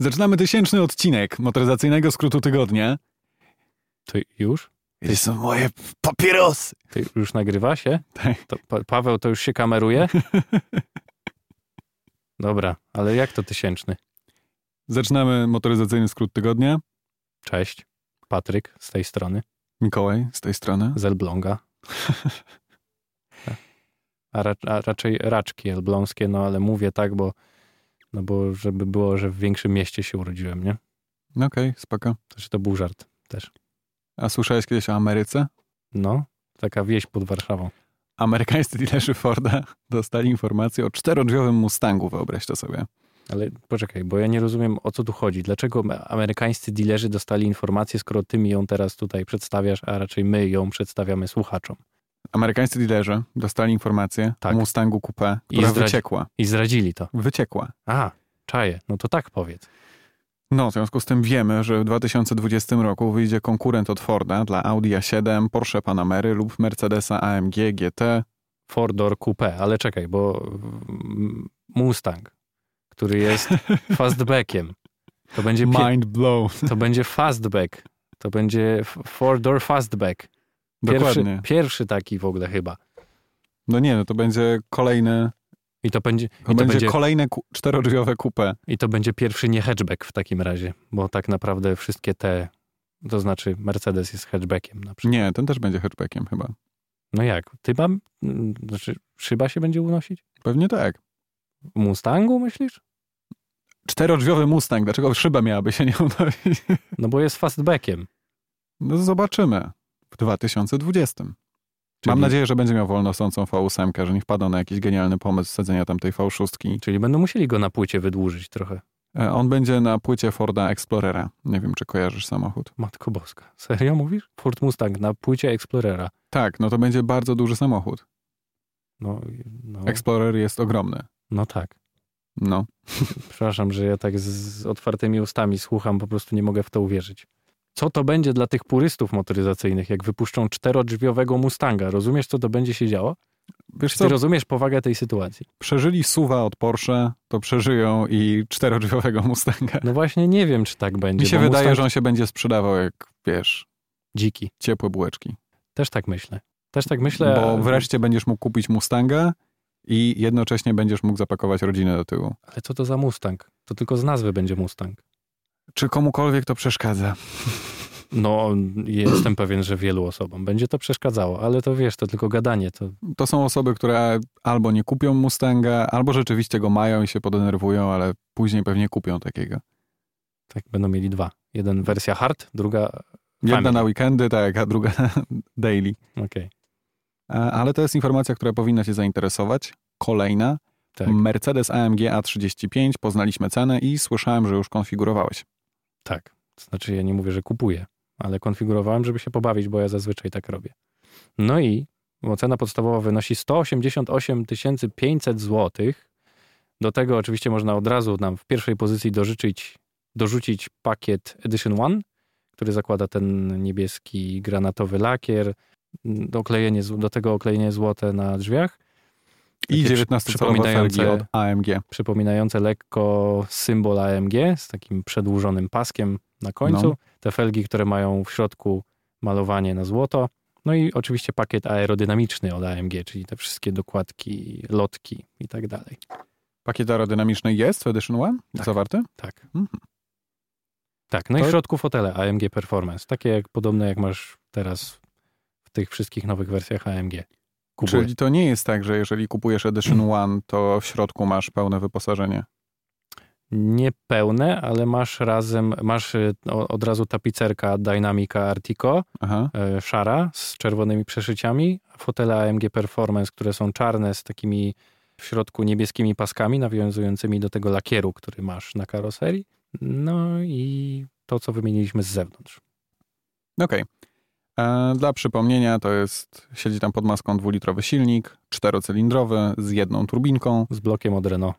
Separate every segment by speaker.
Speaker 1: Zaczynamy tysięczny odcinek motoryzacyjnego skrótu tygodnia.
Speaker 2: To już?
Speaker 1: To są moje papierosy.
Speaker 2: To już nagrywa się?
Speaker 1: Tak.
Speaker 2: To pa Paweł, to już się kameruje? Dobra, ale jak to tysięczny?
Speaker 1: Zaczynamy motoryzacyjny skrót tygodnia.
Speaker 2: Cześć. Patryk z tej strony,
Speaker 1: Mikołaj z tej strony.
Speaker 2: z Elbląga. A, ra a raczej raczki elbląskie, no ale mówię tak, bo, no bo żeby było, że w większym mieście się urodziłem, nie?
Speaker 1: No Okej, spoko.
Speaker 2: To, że to był żart też.
Speaker 1: A słyszałeś kiedyś o Ameryce?
Speaker 2: No, taka wieś pod Warszawą.
Speaker 1: Amerykańscy dealerzy Forda dostali informację o czterodrzwiowym Mustangu, wyobraź to sobie.
Speaker 2: Ale poczekaj, bo ja nie rozumiem o co tu chodzi. Dlaczego amerykańscy dealerzy dostali informację, skoro ty mi ją teraz tutaj przedstawiasz, a raczej my ją przedstawiamy słuchaczom?
Speaker 1: Amerykańscy dealerzy dostali informację
Speaker 2: Tak.
Speaker 1: o Mustangu Coupé,
Speaker 2: I
Speaker 1: która
Speaker 2: zdradzi-
Speaker 1: wyciekła.
Speaker 2: I zdradzili to.
Speaker 1: Wyciekła.
Speaker 2: A, czaje, no to tak powiedz.
Speaker 1: No, w związku z tym wiemy, że w 2020 roku wyjdzie konkurent od Forda dla Audi A7, Porsche Panamery lub Mercedesa AMG GT.
Speaker 2: Four door coupe, ale czekaj, bo mm, Mustang, który jest fastbackiem, to będzie, pie-
Speaker 1: Mind blown.
Speaker 2: to będzie fastback, to będzie f- four door fastback. Pierwszy,
Speaker 1: Dokładnie.
Speaker 2: pierwszy taki w ogóle chyba.
Speaker 1: No nie, no to będzie kolejne,
Speaker 2: I to będzie, i
Speaker 1: to
Speaker 2: to
Speaker 1: będzie,
Speaker 2: będzie
Speaker 1: kolejne ku, czterodrzwiowe coupé.
Speaker 2: I to będzie pierwszy nie hatchback w takim razie, bo tak naprawdę wszystkie te, to znaczy Mercedes jest hatchbackiem na przykład.
Speaker 1: Nie, ten też będzie hatchbackiem chyba.
Speaker 2: No jak, ty mam, mm, znaczy szyba się będzie unosić?
Speaker 1: Pewnie tak.
Speaker 2: W Mustangu myślisz?
Speaker 1: Czterodrzwiowy Mustang, dlaczego szyba miałaby się nie unosić?
Speaker 2: No bo jest fastbackiem.
Speaker 1: No zobaczymy. W 2020. Mam
Speaker 2: Czyli-
Speaker 1: nadzieję, że będzie miał wolnosącą V8, że nie wpadną na jakiś genialny pomysł wsadzenia tamtej V6.
Speaker 2: Czyli będą musieli go na płycie wydłużyć trochę.
Speaker 1: E, On będzie na płycie Forda Explorera. Nie wiem, czy kojarzysz samochód.
Speaker 2: Matko boska. Serio mówisz? Ford Mustang na płycie Explorera.
Speaker 1: Tak, no to będzie bardzo duży samochód.
Speaker 2: No, no,
Speaker 1: Explorer jest ogromny.
Speaker 2: no tak.
Speaker 1: No.
Speaker 2: Przepraszam, że ja tak z- z otwartymi ustami słucham, po prostu nie mogę w to uwierzyć. Co to będzie dla tych purystów motoryzacyjnych, jak wypuszczą czterodrzwiowego Mustanga? Rozumiesz, co to będzie się działo?
Speaker 1: Wiesz
Speaker 2: Czy
Speaker 1: co,
Speaker 2: ty rozumiesz powagę tej sytuacji?
Speaker 1: przeżyli suwa od Porsche, to przeżyją i czterodrzwiowego Mustanga.
Speaker 2: No właśnie nie wiem, czy tak będzie.
Speaker 1: Mi się
Speaker 2: bo
Speaker 1: wydaje,
Speaker 2: Mustang
Speaker 1: że on się będzie sprzedawał jak, wiesz,
Speaker 2: Dziki.
Speaker 1: ciepłe bułeczki.
Speaker 2: Też tak myślę. Też tak myślę.
Speaker 1: Bo
Speaker 2: a-
Speaker 1: wreszcie będziesz mógł kupić Mustanga i jednocześnie będziesz mógł zapakować rodzinę do tyłu.
Speaker 2: Ale co to za Mustang? To tylko z nazwy będzie Mustang.
Speaker 1: Czy komukolwiek to przeszkadza?
Speaker 2: No, jestem pewien, że wielu osobom będzie to przeszkadzało, ale to wiesz, to tylko gadanie. To
Speaker 1: To są osoby, które albo nie kupią Mustanga, albo rzeczywiście go mają i się podenerwują, ale później pewnie kupią takiego.
Speaker 2: tak będą mieli dwa. Jeden wersja hard, druga.
Speaker 1: Jedna
Speaker 2: Family.
Speaker 1: na weekendy, tak, a druga daily.
Speaker 2: Okej.
Speaker 1: E, Ale to jest informacja, która powinna Cię zainteresować. Kolejna.
Speaker 2: Tak.
Speaker 1: Mercedes AMG A35. Poznaliśmy cenę i słyszałem, że już konfigurowałeś.
Speaker 2: Tak. To znaczy, ja nie mówię, że kupuję, ale konfigurowałem, żeby się pobawić, bo ja zazwyczaj tak robię. No i bo cena podstawowa wynosi 188 500 zł. Do tego oczywiście można od razu nam w pierwszej pozycji dożyczyć, dorzucić pakiet Edition One, który zakłada ten niebieski granatowy lakier, m, oklejenie, zł- do tego oklejenie złote na drzwiach,
Speaker 1: I
Speaker 2: Takie
Speaker 1: 19-calowe
Speaker 2: przypominające-
Speaker 1: felgi od AMG.
Speaker 2: przypominające lekko symbol AMG z takim przedłużonym paskiem na końcu.
Speaker 1: No.
Speaker 2: Te felgi, które mają w środku malowanie na złoto. No i oczywiście pakiet aerodynamiczny od AMG, czyli te wszystkie dokładki, lotki i tak dalej.
Speaker 1: Pakiet aerodynamiczny jest w Edition One
Speaker 2: Tak.
Speaker 1: zawarty?
Speaker 2: Tak.
Speaker 1: Mhm.
Speaker 2: Tak, no i
Speaker 1: To-
Speaker 2: w środku fotele AMG Performance. Takie jak, podobne jak masz teraz w tych wszystkich nowych wersjach AMG. Kubuję.
Speaker 1: Czyli to nie jest tak, że jeżeli kupujesz Edition One, to w środku masz pełne wyposażenie.
Speaker 2: Niepełne, ale masz razem, masz y, o- od razu tapicerka Dynamica Artico,
Speaker 1: Aha.
Speaker 2: e, szara z czerwonymi przeszyciami, a fotele AMG Performance, które są czarne z takimi w środku niebieskimi paskami nawiązującymi do tego lakieru, który masz na karoserii. No i to, co wymieniliśmy z zewnątrz.
Speaker 1: Okej. E, Dla przypomnienia, to jest, siedzi tam pod maską dwulitrowy silnik, czterocylindrowy z jedną turbinką,
Speaker 2: Z blokiem od Renault.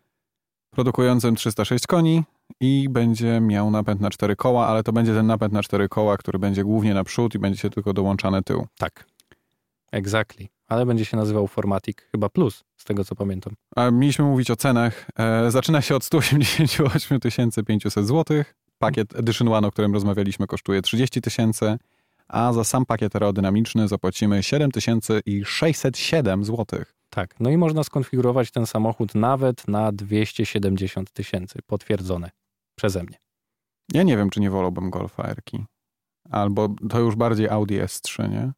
Speaker 1: produkującym 306 koni i będzie miał napęd na cztery koła, ale to będzie ten napęd na cztery koła, który będzie głównie na przód i będzie się tylko dołączany tył.
Speaker 2: Tak. Exactly. ale będzie się nazywał Formatic chyba Plus, z tego co pamiętam.
Speaker 1: A mieliśmy mówić o cenach. E, zaczyna się od 188 500 zł. Pakiet Edition One, o którym rozmawialiśmy, kosztuje 30 tysięcy, a za sam pakiet aerodynamiczny zapłacimy 7607 zł.
Speaker 2: Tak, no i można skonfigurować ten samochód nawet na 270 tysięcy, potwierdzone przeze mnie.
Speaker 1: Ja nie wiem, czy nie wolałbym Golfa Erki. Albo to już bardziej Audi S3, nie?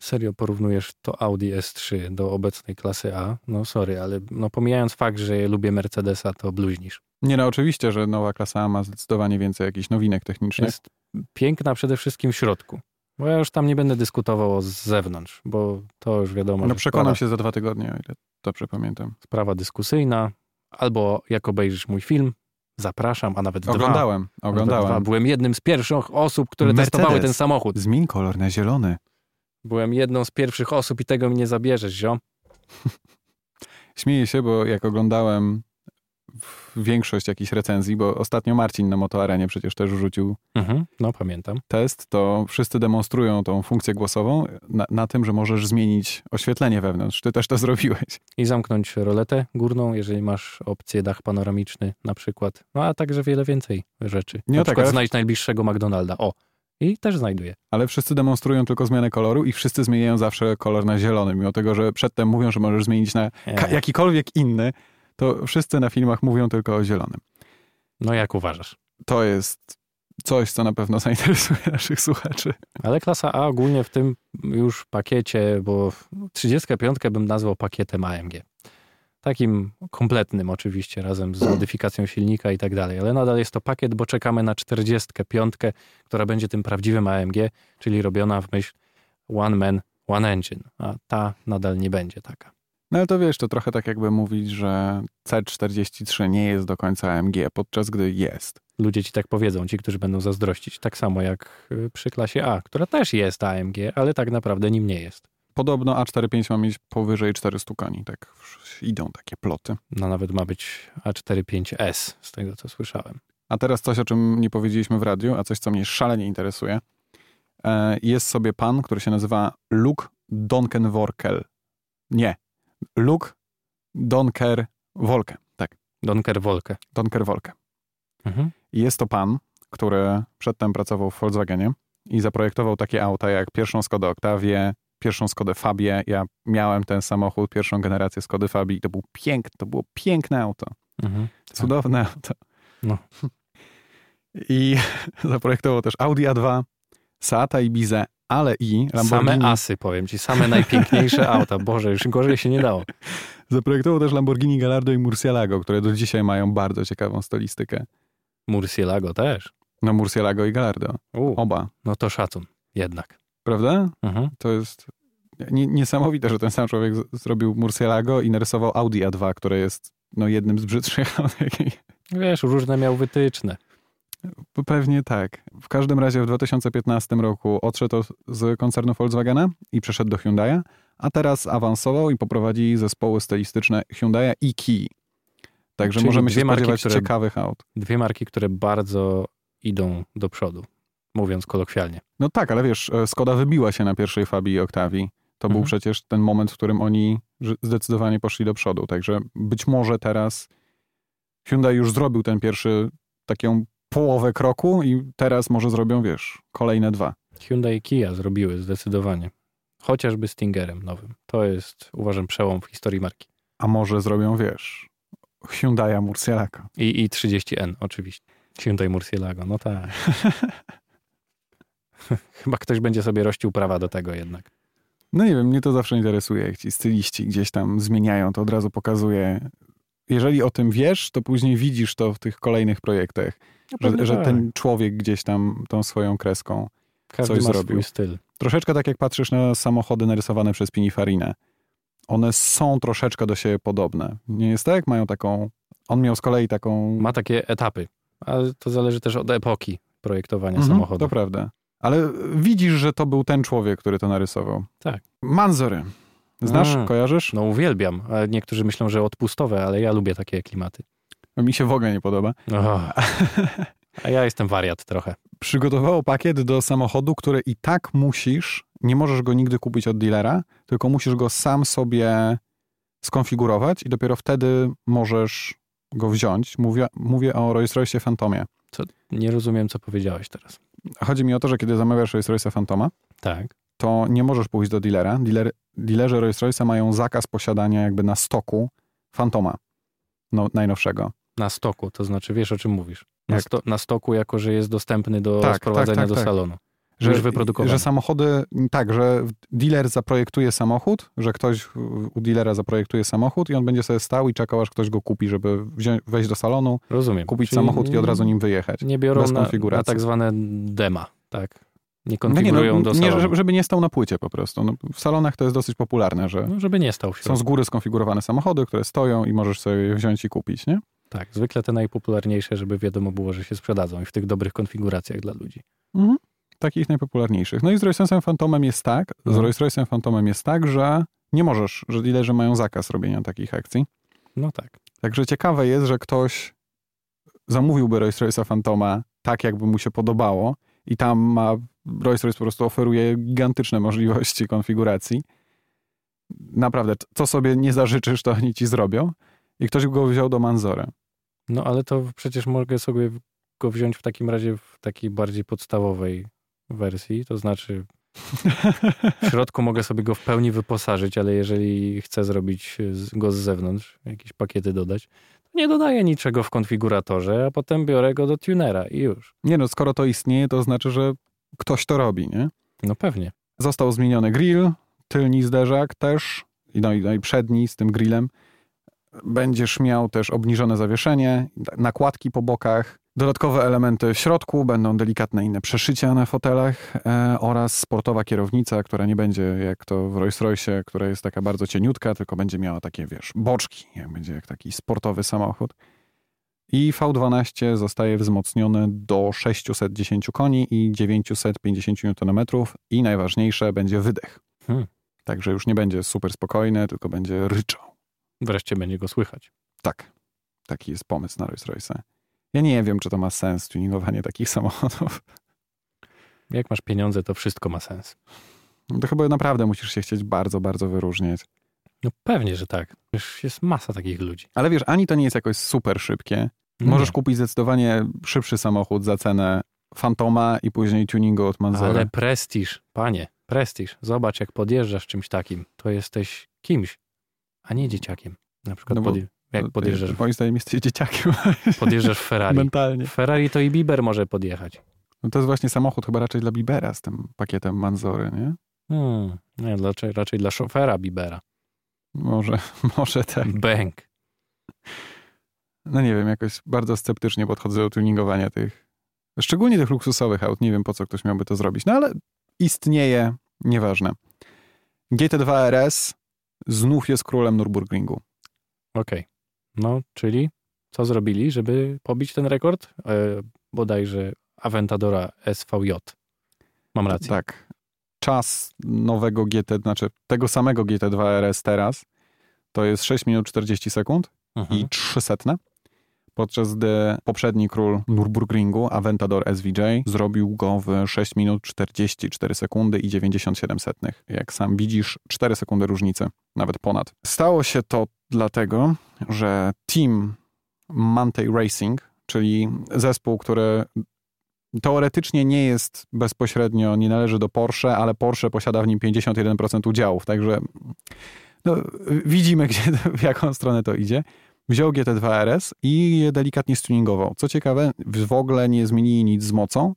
Speaker 2: Serio porównujesz to Audi S3 do obecnej klasy A? No sorry, ale no pomijając fakt, że lubię Mercedesa, to bluźnisz.
Speaker 1: Nie, no oczywiście, że nowa klasa A ma zdecydowanie więcej jakichś nowinek technicznych.
Speaker 2: Jest piękna przede wszystkim w środku. Bo ja już tam nie będę dyskutował z zewnątrz, bo to już wiadomo.
Speaker 1: No
Speaker 2: że
Speaker 1: przekonam
Speaker 2: sprawa,
Speaker 1: się za dwa tygodnie, o ile dobrze pamiętam.
Speaker 2: Sprawa dyskusyjna. Albo jak obejrzysz mój film, zapraszam, a nawet dwa.
Speaker 1: Oglądałem,
Speaker 2: Nawet Dwa.
Speaker 1: oglądałem.
Speaker 2: Byłem jednym z pierwszych osób, które
Speaker 1: Mercedes.
Speaker 2: testowały ten samochód.
Speaker 1: Zmień kolor na zielony.
Speaker 2: Byłem jedną z pierwszych osób i tego mi nie zabierzesz, ziom.
Speaker 1: Śmieję się, bo jak oglądałem w- większość jakichś recenzji, bo ostatnio Marcin na motoarenie przecież też rzucił
Speaker 2: No, pamiętam.
Speaker 1: test, to wszyscy demonstrują tą funkcję głosową na, na tym, że możesz zmienić oświetlenie wewnątrz. Ty też to zrobiłeś.
Speaker 2: I zamknąć roletę górną, jeżeli masz opcję dach panoramiczny na przykład. No, a także wiele więcej rzeczy.
Speaker 1: Nie,
Speaker 2: na
Speaker 1: tak,
Speaker 2: przykład
Speaker 1: ale-
Speaker 2: znajdź najbliższego McDonalda. O, i też znajduję.
Speaker 1: Ale wszyscy demonstrują tylko zmianę koloru i wszyscy zmieniają zawsze kolor na zielony, mimo tego, że przedtem mówią, że możesz zmienić na ka-
Speaker 2: E,
Speaker 1: jakikolwiek inny, to wszyscy na filmach mówią tylko o zielonym.
Speaker 2: No, jak uważasz?
Speaker 1: To jest coś, co na pewno zainteresuje naszych słuchaczy.
Speaker 2: Ale klasa A ogólnie w tym już pakiecie, bo 35 bym nazwał pakietem AMG. Takim kompletnym oczywiście, razem z modyfikacją silnika i tak dalej, ale nadal jest to pakiet, bo czekamy na 45, która będzie tym prawdziwym AMG, czyli robiona w myśl One Man, One Engine, a ta nadal nie będzie taka.
Speaker 1: No ale to wiesz, to trochę tak jakby mówić, że C43 nie jest do końca AMG, podczas gdy jest.
Speaker 2: Ludzie ci tak powiedzą, ci, którzy będą zazdrościć, tak samo jak y, przy klasie A, która też jest AMG, ale tak naprawdę nim nie jest.
Speaker 1: Podobno A45 ma mieć powyżej 400 koni, tak idą takie ploty.
Speaker 2: No nawet ma być A45S, z tego co słyszałem.
Speaker 1: A teraz coś, o czym nie powiedzieliśmy w radiu, a coś, co mnie szalenie interesuje. E, Jest sobie pan, który się nazywa Luke Donkenworkel. Nie, Luke Donkerwolke. Tak,
Speaker 2: Donker Wolkę.
Speaker 1: Donkerwolke. Jest to pan, który przedtem pracował w Volkswagenie i zaprojektował takie auta jak pierwszą Skodę Octavię, pierwszą Skodę Fabię. Ja miałem ten samochód, pierwszą generację Skody Fabii i to, był pięk, to było piękne auto. Cudowne auto.
Speaker 2: No.
Speaker 1: I zaprojektował też Audi A2, Seata Ibizę, ale i Lamborghini.
Speaker 2: Same asy, powiem ci. Same najpiękniejsze auta. Boże, już gorzej się nie dało.
Speaker 1: Zaprojektował też Lamborghini Gallardo i Murcielago, które do dzisiaj mają bardzo ciekawą stylistykę.
Speaker 2: Murcielago też.
Speaker 1: No Murcielago i Gallardo.
Speaker 2: U,
Speaker 1: Oba.
Speaker 2: no to szacun. Jednak.
Speaker 1: Prawda?
Speaker 2: Mhm.
Speaker 1: To jest nie, niesamowite, że ten sam człowiek z- zrobił Murcielago i narysował Audi A2, które jest no, jednym z brzydszych aut, jakie
Speaker 2: Wiesz, różne miał wytyczne.
Speaker 1: P- Pewnie tak. W każdym razie w 2015 roku odszedł od- z koncernu Volkswagena i przeszedł do Hyundai'a, a teraz awansował i poprowadzi zespoły stylistyczne Hyundai'a i Kia. Także
Speaker 2: Czyli
Speaker 1: możemy się
Speaker 2: dwie marki,
Speaker 1: spodziewać
Speaker 2: które-
Speaker 1: ciekawych aut.
Speaker 2: Dwie marki, które bardzo idą do przodu. Mówiąc kolokwialnie.
Speaker 1: No tak, ale wiesz, e, Skoda wybiła się na pierwszej Fabii i Octavii. To był
Speaker 2: Mhm.
Speaker 1: przecież ten moment, w którym oni ż- zdecydowanie poszli do przodu. Także być może teraz Hyundai już zrobił ten pierwszy taką połowę kroku i teraz może zrobią, wiesz, kolejne dwa.
Speaker 2: Hyundai i Kia zrobiły zdecydowanie. Chociażby Stingerem nowym. To jest, uważam, przełom w historii marki.
Speaker 1: A może zrobią, wiesz, Hyundai'a Murcielago.
Speaker 2: I, i 30N oczywiście. Hyundai Murcielago, no tak. Chyba ktoś będzie sobie rościł prawa do tego jednak.
Speaker 1: No nie wiem, mnie to zawsze interesuje, jak ci styliści gdzieś tam zmieniają, to od razu pokazuje. Jeżeli o tym wiesz, to później widzisz to w tych kolejnych projektach, że,
Speaker 2: tak.
Speaker 1: że ten człowiek gdzieś tam tą swoją kreską.
Speaker 2: Każdy
Speaker 1: coś
Speaker 2: ma
Speaker 1: zrobił.
Speaker 2: swój styl.
Speaker 1: Troszeczkę tak jak patrzysz na samochody narysowane przez Pininfarina. One są troszeczkę do siebie podobne. Nie jest tak? Mają taką... On miał z kolei taką...
Speaker 2: Ma takie etapy, ale to zależy też od epoki projektowania
Speaker 1: Mhm,
Speaker 2: samochodu.
Speaker 1: To prawda. Ale widzisz, że to był ten człowiek, który to narysował.
Speaker 2: Tak.
Speaker 1: Manzory. Znasz?
Speaker 2: Mm.
Speaker 1: Kojarzysz?
Speaker 2: No uwielbiam. ale Niektórzy myślą, że odpustowe, ale ja lubię takie klimaty.
Speaker 1: Mi się w ogóle nie podoba.
Speaker 2: Oh. A ja jestem wariat trochę.
Speaker 1: Przygotowało pakiet do samochodu, który i tak musisz nie możesz go nigdy kupić od dealera, tylko musisz go sam sobie skonfigurować i dopiero wtedy możesz go wziąć. Mówię, mówię o Rolls Royce Fantomie.
Speaker 2: Co, nie rozumiem, co powiedziałeś teraz.
Speaker 1: Chodzi mi o to, że kiedy zamawiasz Rolls Royce Fantoma,
Speaker 2: Tak.
Speaker 1: to nie możesz pójść do dealera. Dealer, dealerzy Rolls Royce mają zakaz posiadania jakby na stoku Fantoma no, najnowszego.
Speaker 2: Na stoku, to znaczy wiesz, o czym mówisz. Na,
Speaker 1: Jak
Speaker 2: sto, na stoku, jako że jest dostępny do
Speaker 1: Tak, tak,
Speaker 2: sprowadzenia
Speaker 1: tak,
Speaker 2: do
Speaker 1: tak.
Speaker 2: salonu. Że, już wyprodukowany.
Speaker 1: Że samochody, tak, że dealer zaprojektuje samochód, że ktoś u dealera zaprojektuje samochód i on będzie sobie stał i czekał, aż ktoś go kupi, żeby wziąć, wejść do salonu,
Speaker 2: Rozumiem.
Speaker 1: kupić
Speaker 2: Czyli
Speaker 1: samochód i od razu nim wyjechać.
Speaker 2: Nie biorą
Speaker 1: bez
Speaker 2: na, na
Speaker 1: konfiguracji.
Speaker 2: tak zwane dema, tak. Nie
Speaker 1: No nie,
Speaker 2: konfigurują do
Speaker 1: nie,
Speaker 2: salonu.
Speaker 1: żeby- żeby nie stał na płycie po prostu. No, w salonach to jest dosyć popularne, że
Speaker 2: No, żeby nie stał w
Speaker 1: są
Speaker 2: środku.
Speaker 1: z góry skonfigurowane samochody, które stoją i możesz sobie je wziąć i kupić, nie?
Speaker 2: Tak, zwykle te najpopularniejsze, żeby wiadomo było, że się sprzedadzą i w tych dobrych konfiguracjach dla ludzi.
Speaker 1: Takich najpopularniejszych. No i z Rolls Royce'em Phantomem jest tak, z
Speaker 2: No.
Speaker 1: Rolls Royce'em Phantomem jest tak, że nie możesz, że dealerzy mają zakaz robienia takich akcji.
Speaker 2: No tak.
Speaker 1: Także ciekawe jest, że ktoś zamówiłby Rolls Royce'a Fantoma tak, jakby mu się podobało i tam ma, Rolls Royce po prostu oferuje gigantyczne możliwości konfiguracji. Naprawdę, c- co sobie nie zażyczysz, to oni ci zrobią. I ktoś go wziął do Manzora.
Speaker 2: No ale to przecież mogę sobie go wziąć w takim razie w takiej bardziej podstawowej wersji, to znaczy w środku mogę sobie go w pełni wyposażyć, ale jeżeli chcę zrobić z- go z zewnątrz, jakieś pakiety dodać, to nie dodaję niczego w konfiguratorze, a potem biorę go do tunera i już.
Speaker 1: Nie no, skoro to istnieje, to znaczy, że ktoś to robi, nie?
Speaker 2: No pewnie.
Speaker 1: Został zmieniony grill, tylni zderzak też, i no, i- no i przedni z tym grillem. Będziesz miał też obniżone zawieszenie, d- nakładki po bokach, dodatkowe elementy w środku, będą delikatne inne przeszycia na fotelach e, oraz sportowa kierownica, która nie będzie jak to w Rolls Royce, która jest taka bardzo cieniutka, tylko będzie miała takie, wiesz, boczki, jak będzie jak taki sportowy samochód. I V12 zostaje wzmocniony do 610 koni i 950 Nm i najważniejsze będzie wydech.
Speaker 2: Hmm.
Speaker 1: Także już nie będzie super spokojny, tylko będzie ryczał.
Speaker 2: Wreszcie będzie go słychać.
Speaker 1: Tak. Taki jest pomysł na Rolls Royce. Ja nie wiem, czy to ma sens, tuningowanie takich samochodów.
Speaker 2: Jak masz pieniądze, to wszystko ma sens.
Speaker 1: No To chyba naprawdę musisz się chcieć bardzo, bardzo wyróżniać.
Speaker 2: No pewnie, że tak. Już jest masa takich ludzi.
Speaker 1: Ale wiesz, ani to nie jest jakoś super szybkie.
Speaker 2: No,
Speaker 1: Możesz kupić zdecydowanie szybszy samochód za cenę Fantoma i później tuningu od Manzera.
Speaker 2: Ale prestiż, panie, prestiż. Zobacz, jak podjeżdżasz czymś takim, to jesteś kimś, a nie dzieciakiem. Na przykład
Speaker 1: No bo-
Speaker 2: podje- jak podjeżdżasz,
Speaker 1: Moim zdaniem jesteś dzieciakiem.
Speaker 2: podjeżdżasz w Ferrari.
Speaker 1: Mentalnie.
Speaker 2: W Ferrari to i Bieber może podjechać.
Speaker 1: No to jest właśnie samochód chyba raczej dla Bibera z tym pakietem Manzory, nie?
Speaker 2: Hmm, nie, raczej, raczej dla szofera Bibera.
Speaker 1: Może, może tak.
Speaker 2: Bęk.
Speaker 1: No nie wiem, jakoś bardzo sceptycznie podchodzę do tuningowania tych, szczególnie tych luksusowych aut. Nie wiem, po co ktoś miałby to zrobić, no ale istnieje, nieważne. GT2 RS znów jest królem Nürburgringu.
Speaker 2: Okej. No, czyli co zrobili, żeby pobić ten rekord? E, bodajże Aventadora SVJ. Mam rację.
Speaker 1: Tak. Czas nowego GT, znaczy tego samego GT2 RS teraz, to jest 6 minut 40 sekund
Speaker 2: Mhm.
Speaker 1: i 300. Podczas gdy poprzedni król Nürburgringu, Aventador SVJ, zrobił go w 6 minut 44 sekundy i 97 setnych. Jak sam widzisz, 4 sekundy różnicy, nawet ponad. Stało się to dlatego, że team Mantei Racing, czyli zespół, który teoretycznie nie jest bezpośrednio, nie należy do Porsche, ale Porsche posiada w nim 51% udziałów, także no, widzimy, gdzie, w jaką stronę to idzie wziął GT2 RS i je delikatnie stuningował. Co ciekawe, w ogóle nie zmienili nic z mocą,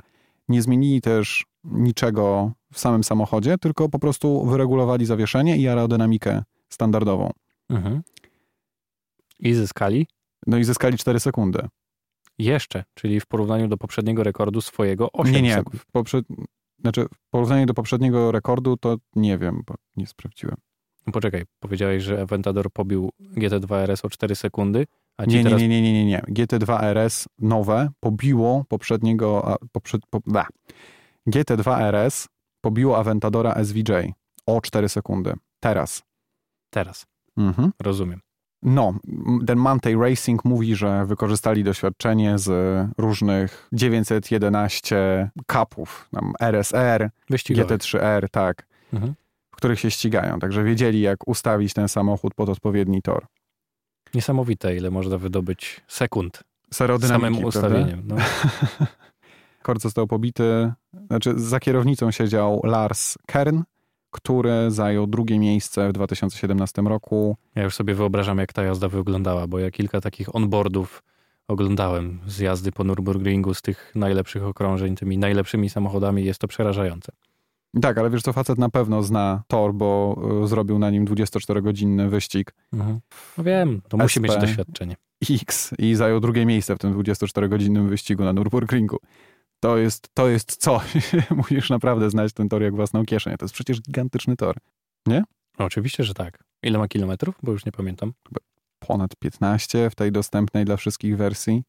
Speaker 1: nie zmienili też niczego w samym samochodzie, tylko po prostu wyregulowali zawieszenie i aerodynamikę standardową.
Speaker 2: Mhm. I zyskali
Speaker 1: No i zyskali 4 sekundy.
Speaker 2: jeszcze, czyli w porównaniu do poprzedniego rekordu swojego 8
Speaker 1: nie, nie.
Speaker 2: sekund.
Speaker 1: W poprze... Znaczy, w porównaniu do poprzedniego rekordu, to nie wiem, bo nie sprawdziłem.
Speaker 2: No Poczekaj, powiedziałeś, że Aventador pobił GT2 RS o 4 sekundy, a ci
Speaker 1: Nie, nie,
Speaker 2: teraz...
Speaker 1: nie, nie, nie, nie, nie. GT2 RS nowe pobiło poprzedniego. a, Poprzed, po, da. GT2 RS pobiło Aventadora SVJ o 4 sekundy. Teraz.
Speaker 2: Teraz,
Speaker 1: Mhm.
Speaker 2: rozumiem.
Speaker 1: No, ten Mantei Racing mówi, że wykorzystali doświadczenie z różnych 911 kapów, tam RSR,
Speaker 2: Wyścigowy.
Speaker 1: GT3R, tak,
Speaker 2: Mhm.
Speaker 1: w których się ścigają. Także wiedzieli, jak ustawić ten samochód pod odpowiedni tor.
Speaker 2: Niesamowite, ile można wydobyć sekund
Speaker 1: Serodynamiki,
Speaker 2: samym
Speaker 1: prawda?
Speaker 2: ustawieniem. No.
Speaker 1: Kord został pobity, znaczy za kierownicą siedział Lars Kern, który zajął drugie miejsce w 2017 roku.
Speaker 2: Ja już sobie wyobrażam, jak ta jazda wyglądała, bo ja kilka takich onboardów oglądałem z jazdy po Nürburgringu, z tych najlepszych okrążeń, tymi najlepszymi samochodami. Jest to przerażające.
Speaker 1: Tak, ale wiesz co, facet na pewno zna tor, bo y, zrobił na nim 24-godzinny wyścig
Speaker 2: No wiem, to musi
Speaker 1: SP.
Speaker 2: mieć doświadczenie.
Speaker 1: X i zajął drugie miejsce w tym 24-godzinnym wyścigu na Nürburgringu. To jest, to jest coś. Musisz naprawdę znać ten tor jak własną kieszeń. To jest przecież gigantyczny tor.
Speaker 2: No, oczywiście, że tak. Ile ma kilometrów? Bo już nie pamiętam.
Speaker 1: Ponad 15 w tej dostępnej dla wszystkich wersji,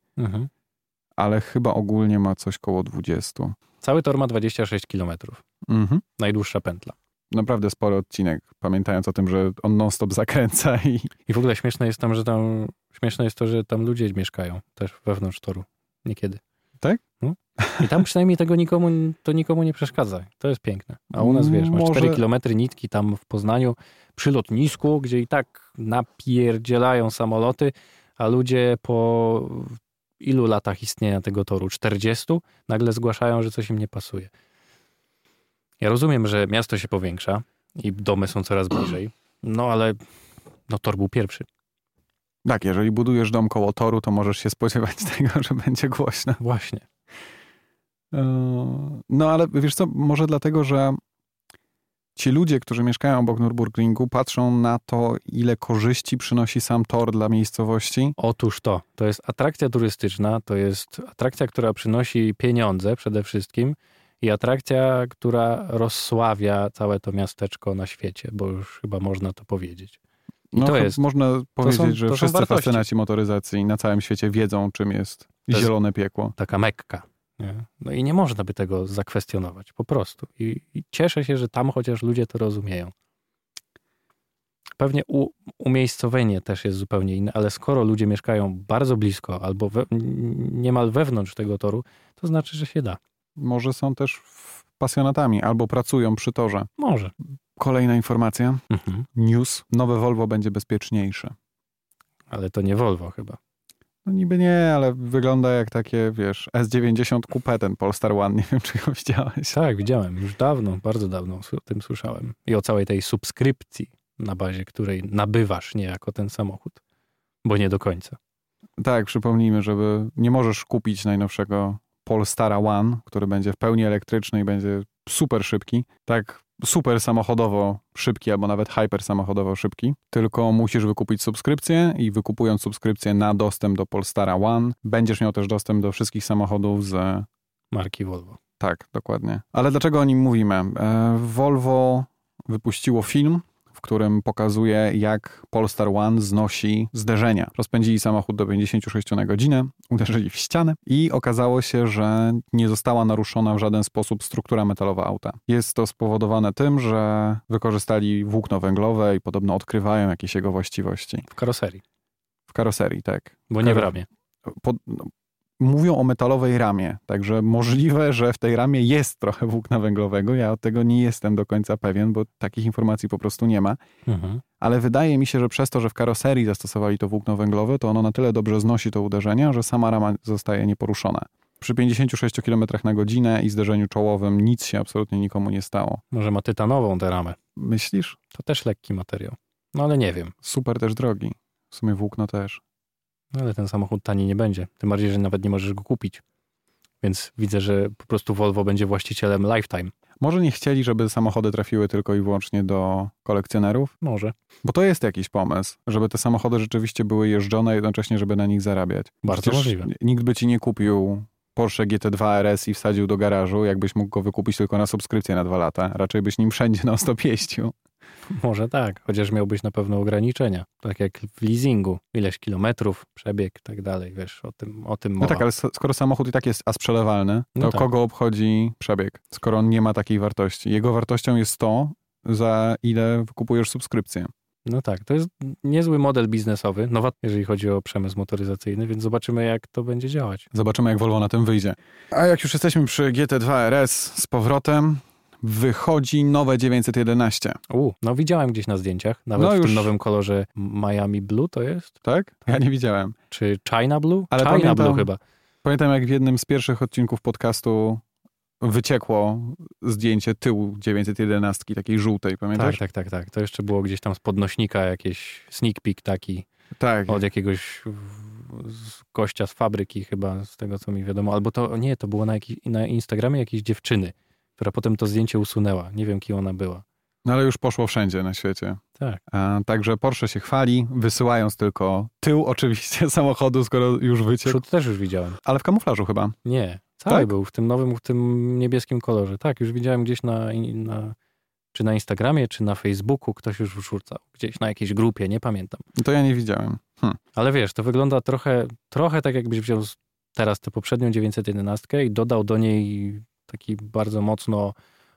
Speaker 1: ale chyba ogólnie ma coś koło 20.
Speaker 2: Cały tor ma 26 kilometrów.
Speaker 1: Mhm.
Speaker 2: Najdłuższa pętla.
Speaker 1: naprawdę spory odcinek, pamiętając o tym, że on non-stop zakręca i
Speaker 2: I w ogóle śmieszne jest tam, że tam śmieszne jest to, że tam ludzie mieszkają też wewnątrz toru. Niekiedy.
Speaker 1: Tak?
Speaker 2: No. I tam przynajmniej tego nikomu, to nikomu nie przeszkadza. To jest piękne. A u nas, wiesz, masz
Speaker 1: Może-
Speaker 2: 4 kilometry nitki tam w Poznaniu przy lotnisku, gdzie i tak napierdzielają samoloty, a ludzie po ilu latach istnienia tego toru? 40? Nagle zgłaszają, że coś im nie pasuje. Ja rozumiem, że miasto się powiększa i domy są coraz bliżej, no ale no tor był pierwszy.
Speaker 1: tak, jeżeli budujesz dom koło toru, to możesz się spodziewać tego, że będzie głośno.
Speaker 2: Właśnie.
Speaker 1: Eee, No ale wiesz co, może dlatego, że ci ludzie, którzy mieszkają obok Nürburgringu patrzą na to, ile korzyści przynosi sam tor dla miejscowości.
Speaker 2: Otóż to. To jest atrakcja turystyczna, to jest atrakcja, która przynosi pieniądze przede wszystkim i atrakcja, która rozsławia całe to miasteczko na świecie, bo już chyba można to powiedzieć.
Speaker 1: No,
Speaker 2: to
Speaker 1: ch-
Speaker 2: jest-
Speaker 1: Można powiedzieć,
Speaker 2: są- to są
Speaker 1: że wszyscy
Speaker 2: wartości.
Speaker 1: fascynaci motoryzacji na całym świecie wiedzą, czym jest
Speaker 2: jest-
Speaker 1: zielone piekło.
Speaker 2: Taka mekka. Nie? No i nie można by tego zakwestionować, po prostu. I, I cieszę się, że tam chociaż ludzie to rozumieją. Pewnie u, umiejscowienie też jest zupełnie inne, ale skoro ludzie mieszkają bardzo blisko albo we, n- niemal wewnątrz tego toru, to znaczy, że się da.
Speaker 1: Może są też f- pasjonatami albo pracują przy torze.
Speaker 2: Może.
Speaker 1: Kolejna informacja.
Speaker 2: Mhm.
Speaker 1: news, nowe Volvo będzie bezpieczniejsze.
Speaker 2: Ale to nie Volvo chyba.
Speaker 1: No niby nie, ale wygląda jak takie, wiesz, S90 Coupe, ten Polestar One, nie wiem czy go widziałeś.
Speaker 2: Tak, widziałem. Już dawno, bardzo dawno o tym słyszałem. I o całej tej subskrypcji, na bazie której nabywasz niejako ten samochód. Bo nie do końca.
Speaker 1: Tak, przypomnijmy, żeby nie możesz kupić najnowszego Polestara One, który będzie w pełni elektryczny i będzie super szybki, tak super samochodowo szybki albo nawet hyper samochodowo szybki, tylko musisz wykupić subskrypcję i wykupując subskrypcję na dostęp do Polestara One, będziesz miał też dostęp do wszystkich samochodów z
Speaker 2: Marki Volvo.
Speaker 1: Tak, dokładnie. Ale dlaczego o nim mówimy? E, Volvo wypuściło film, w którym pokazuje, jak Polestar One znosi zderzenia. Rozpędzili samochód do 56 na godzinę, uderzyli w ścianę i okazało się, że nie została naruszona w żaden sposób struktura metalowa auta. Jest to spowodowane tym, że wykorzystali włókno węglowe i podobno odkrywają jakieś jego właściwości.
Speaker 2: W karoserii.
Speaker 1: W karoserii, tak
Speaker 2: Bo nie w
Speaker 1: Karo-
Speaker 2: ramie.
Speaker 1: pod, no, mówią o metalowej ramie, także możliwe, że w tej ramie jest trochę włókna węglowego. Ja od tego nie jestem do końca pewien, bo takich informacji po prostu nie ma.
Speaker 2: Mhm.
Speaker 1: Ale wydaje mi się, że przez to, że w karoserii zastosowali to włókno węglowe, to ono na tyle dobrze znosi to uderzenie, że sama rama zostaje nieporuszona. Przy 56 km na godzinę i zderzeniu czołowym nic się absolutnie nikomu nie stało.
Speaker 2: Może ma tytanową tę ramę.
Speaker 1: Myślisz?
Speaker 2: To też lekki materiał. No ale nie wiem.
Speaker 1: Super też drogi. W sumie włókno też.
Speaker 2: No, ale ten samochód tani nie będzie. Tym bardziej, że nawet nie możesz go kupić. Więc widzę, że po prostu Volvo będzie właścicielem lifetime.
Speaker 1: Może nie chcieli, żeby samochody trafiły tylko i wyłącznie do kolekcjonerów?
Speaker 2: Może.
Speaker 1: Bo to jest jakiś pomysł, żeby te samochody rzeczywiście były jeżdżone, jednocześnie, żeby na nich zarabiać.
Speaker 2: Bardzo możliwe.
Speaker 1: Nikt by ci nie kupił Porsche GT2 RS i wsadził do garażu, jakbyś mógł go wykupić tylko na subskrypcję na dwa lata. Raczej byś nim wszędzie na No stop jeździł.
Speaker 2: Może tak, chociaż miałbyś na pewno ograniczenia. Tak jak w leasingu, ileś kilometrów, przebieg i tak dalej, wiesz, o tym, o tym mowa.
Speaker 1: No tak, ale s- skoro samochód i tak jest as przelewalny, to
Speaker 2: No tak.
Speaker 1: kogo obchodzi przebieg, skoro on nie ma takiej wartości? Jego wartością jest to, za ile wykupujesz subskrypcję.
Speaker 2: No tak, to jest niezły model biznesowy, nowa, jeżeli chodzi o przemysł motoryzacyjny, więc zobaczymy, jak to będzie działać.
Speaker 1: Zobaczymy, jak Volvo na tym wyjdzie. A jak już jesteśmy przy GT2 RS z powrotem, wychodzi nowe 911,
Speaker 2: U, no widziałem gdzieś na zdjęciach, nawet
Speaker 1: No
Speaker 2: w
Speaker 1: już.
Speaker 2: tym nowym kolorze Miami Blue to jest?
Speaker 1: tak? Ja nie widziałem.
Speaker 2: Czy China Blue?
Speaker 1: Ale
Speaker 2: China
Speaker 1: pamiętam-
Speaker 2: Blue chyba. Tak,
Speaker 1: Pamiętam, jak w jednym z pierwszych odcinków podcastu wyciekło zdjęcie tyłu 911, takiej żółtej,
Speaker 2: Tak,
Speaker 1: pamiętasz?
Speaker 2: tak, tak, tak. To jeszcze było gdzieś tam z podnośnika jakieś sneak peek taki
Speaker 1: tak.
Speaker 2: od jakiegoś w- z gościa z fabryki chyba, z tego co mi wiadomo. Albo to, nie, to było na, jakiś, na Instagramie jakiejś dziewczyny, która potem to zdjęcie usunęła. Nie wiem, kim ona była.
Speaker 1: No ale już poszło wszędzie na świecie.
Speaker 2: Tak.
Speaker 1: A, także Porsche się chwali, wysyłając tylko tył oczywiście samochodu, skoro już wyciekł.
Speaker 2: Przód też już widziałem.
Speaker 1: Ale w kamuflażu chyba.
Speaker 2: Nie, cały
Speaker 1: Tak?
Speaker 2: był w tym nowym, w tym niebieskim kolorze. Tak, już widziałem gdzieś na, na czy na Instagramie, czy na Facebooku ktoś już wrzucał. Gdzieś na jakiejś grupie, nie pamiętam.
Speaker 1: To ja nie widziałem. Hm.
Speaker 2: Ale wiesz, to wygląda trochę, trochę tak, jakbyś wziął z- teraz tę poprzednią 911 i dodał do niej taki bardzo mocno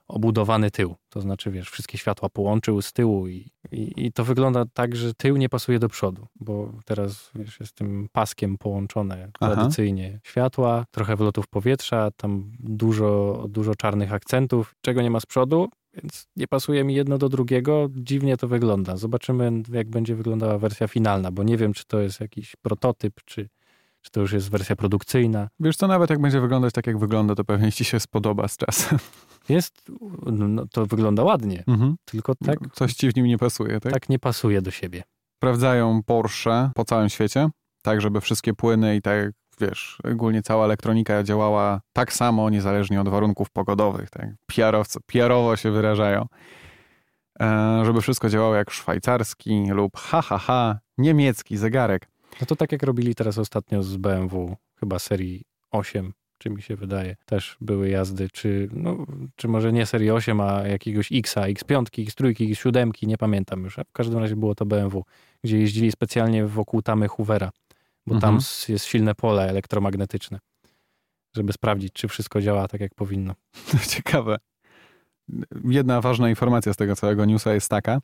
Speaker 2: obudowany tył. To znaczy, wiesz, wszystkie światła połączył z tyłu i, i, i to wygląda tak, że tył nie pasuje do przodu, bo teraz, wiesz, jest tym paskiem połączone
Speaker 1: Aha.
Speaker 2: tradycyjnie światła, trochę wlotów powietrza, tam dużo, dużo czarnych akcentów, czego nie ma z przodu, więc nie pasuje mi jedno do drugiego. Dziwnie to wygląda. Zobaczymy, jak będzie wyglądała wersja finalna, bo nie wiem, czy to jest jakiś prototyp, czy, czy to już jest wersja produkcyjna.
Speaker 1: Wiesz co, nawet jak będzie wyglądać tak, jak wygląda, to pewnie ci się spodoba z czasem.
Speaker 2: Jest, no, to wygląda ładnie,
Speaker 1: Mhm.
Speaker 2: tylko tak,
Speaker 1: Coś ci w nim nie pasuje, tak?
Speaker 2: tak nie pasuje do siebie.
Speaker 1: Sprawdzają Porsche po całym świecie, tak żeby wszystkie płyny i tak, wiesz, ogólnie cała elektronika działała tak samo, niezależnie od warunków pogodowych, tak? PR-owcy, PR-owo się wyrażają. E, żeby wszystko działało jak szwajcarski lub ha, ha, ha, niemiecki zegarek.
Speaker 2: No to tak jak robili teraz ostatnio z BMW, chyba serii 8, czy mi się wydaje, też były jazdy, czy, no, czy może nie serii 8, a jakiegoś X, X5, X3, X7, nie pamiętam już. A w każdym razie było to BMW, gdzie jeździli specjalnie wokół tamy Hoovera, bo tam
Speaker 1: Mhm.
Speaker 2: s- jest silne pole elektromagnetyczne, żeby sprawdzić, czy wszystko działa tak, jak powinno.
Speaker 1: Ciekawe. Jedna ważna informacja z tego całego newsa jest taka,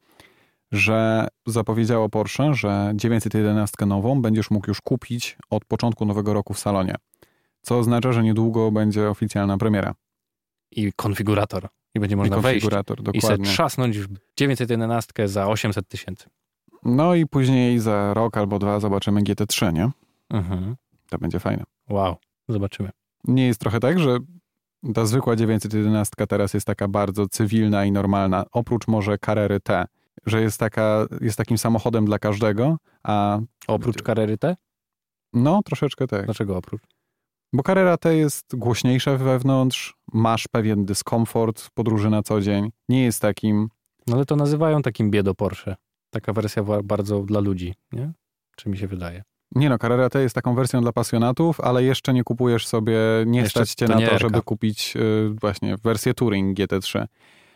Speaker 1: że zapowiedziało Porsche, że 911 nową będziesz mógł już kupić od początku nowego roku w salonie. Co oznacza, że niedługo będzie oficjalna premiera.
Speaker 2: I konfigurator. I będzie
Speaker 1: I
Speaker 2: można wejść
Speaker 1: konfigurator,
Speaker 2: i se
Speaker 1: dokładnie.
Speaker 2: trzasnąć w 911 za 800 tysięcy.
Speaker 1: No i później za rok albo dwa zobaczymy GT3, nie?
Speaker 2: Mhm.
Speaker 1: To będzie fajne.
Speaker 2: Wow, zobaczymy.
Speaker 1: Nie jest trochę tak, że ta zwykła 911 teraz jest taka bardzo cywilna i normalna, oprócz może Carrery T, że jest, taka, jest takim samochodem dla każdego, a
Speaker 2: Oprócz Carrery
Speaker 1: Tak.
Speaker 2: T?
Speaker 1: No, troszeczkę tak.
Speaker 2: Dlaczego oprócz?
Speaker 1: Bo Carrera T jest głośniejsza wewnątrz, masz pewien dyskomfort w podróży na co dzień. Nie jest takim,
Speaker 2: No ale to nazywają takim biedo Porsche. Taka wersja wa- bardzo dla ludzi, nie? Czy mi się wydaje?
Speaker 1: nie no, Carrera T jest taką wersją dla pasjonatów, ale jeszcze nie kupujesz sobie, nie
Speaker 2: Jeszcze
Speaker 1: stać cię
Speaker 2: to
Speaker 1: na
Speaker 2: nie
Speaker 1: to,
Speaker 2: R-ka.
Speaker 1: żeby kupić y, właśnie wersję Touring GT3.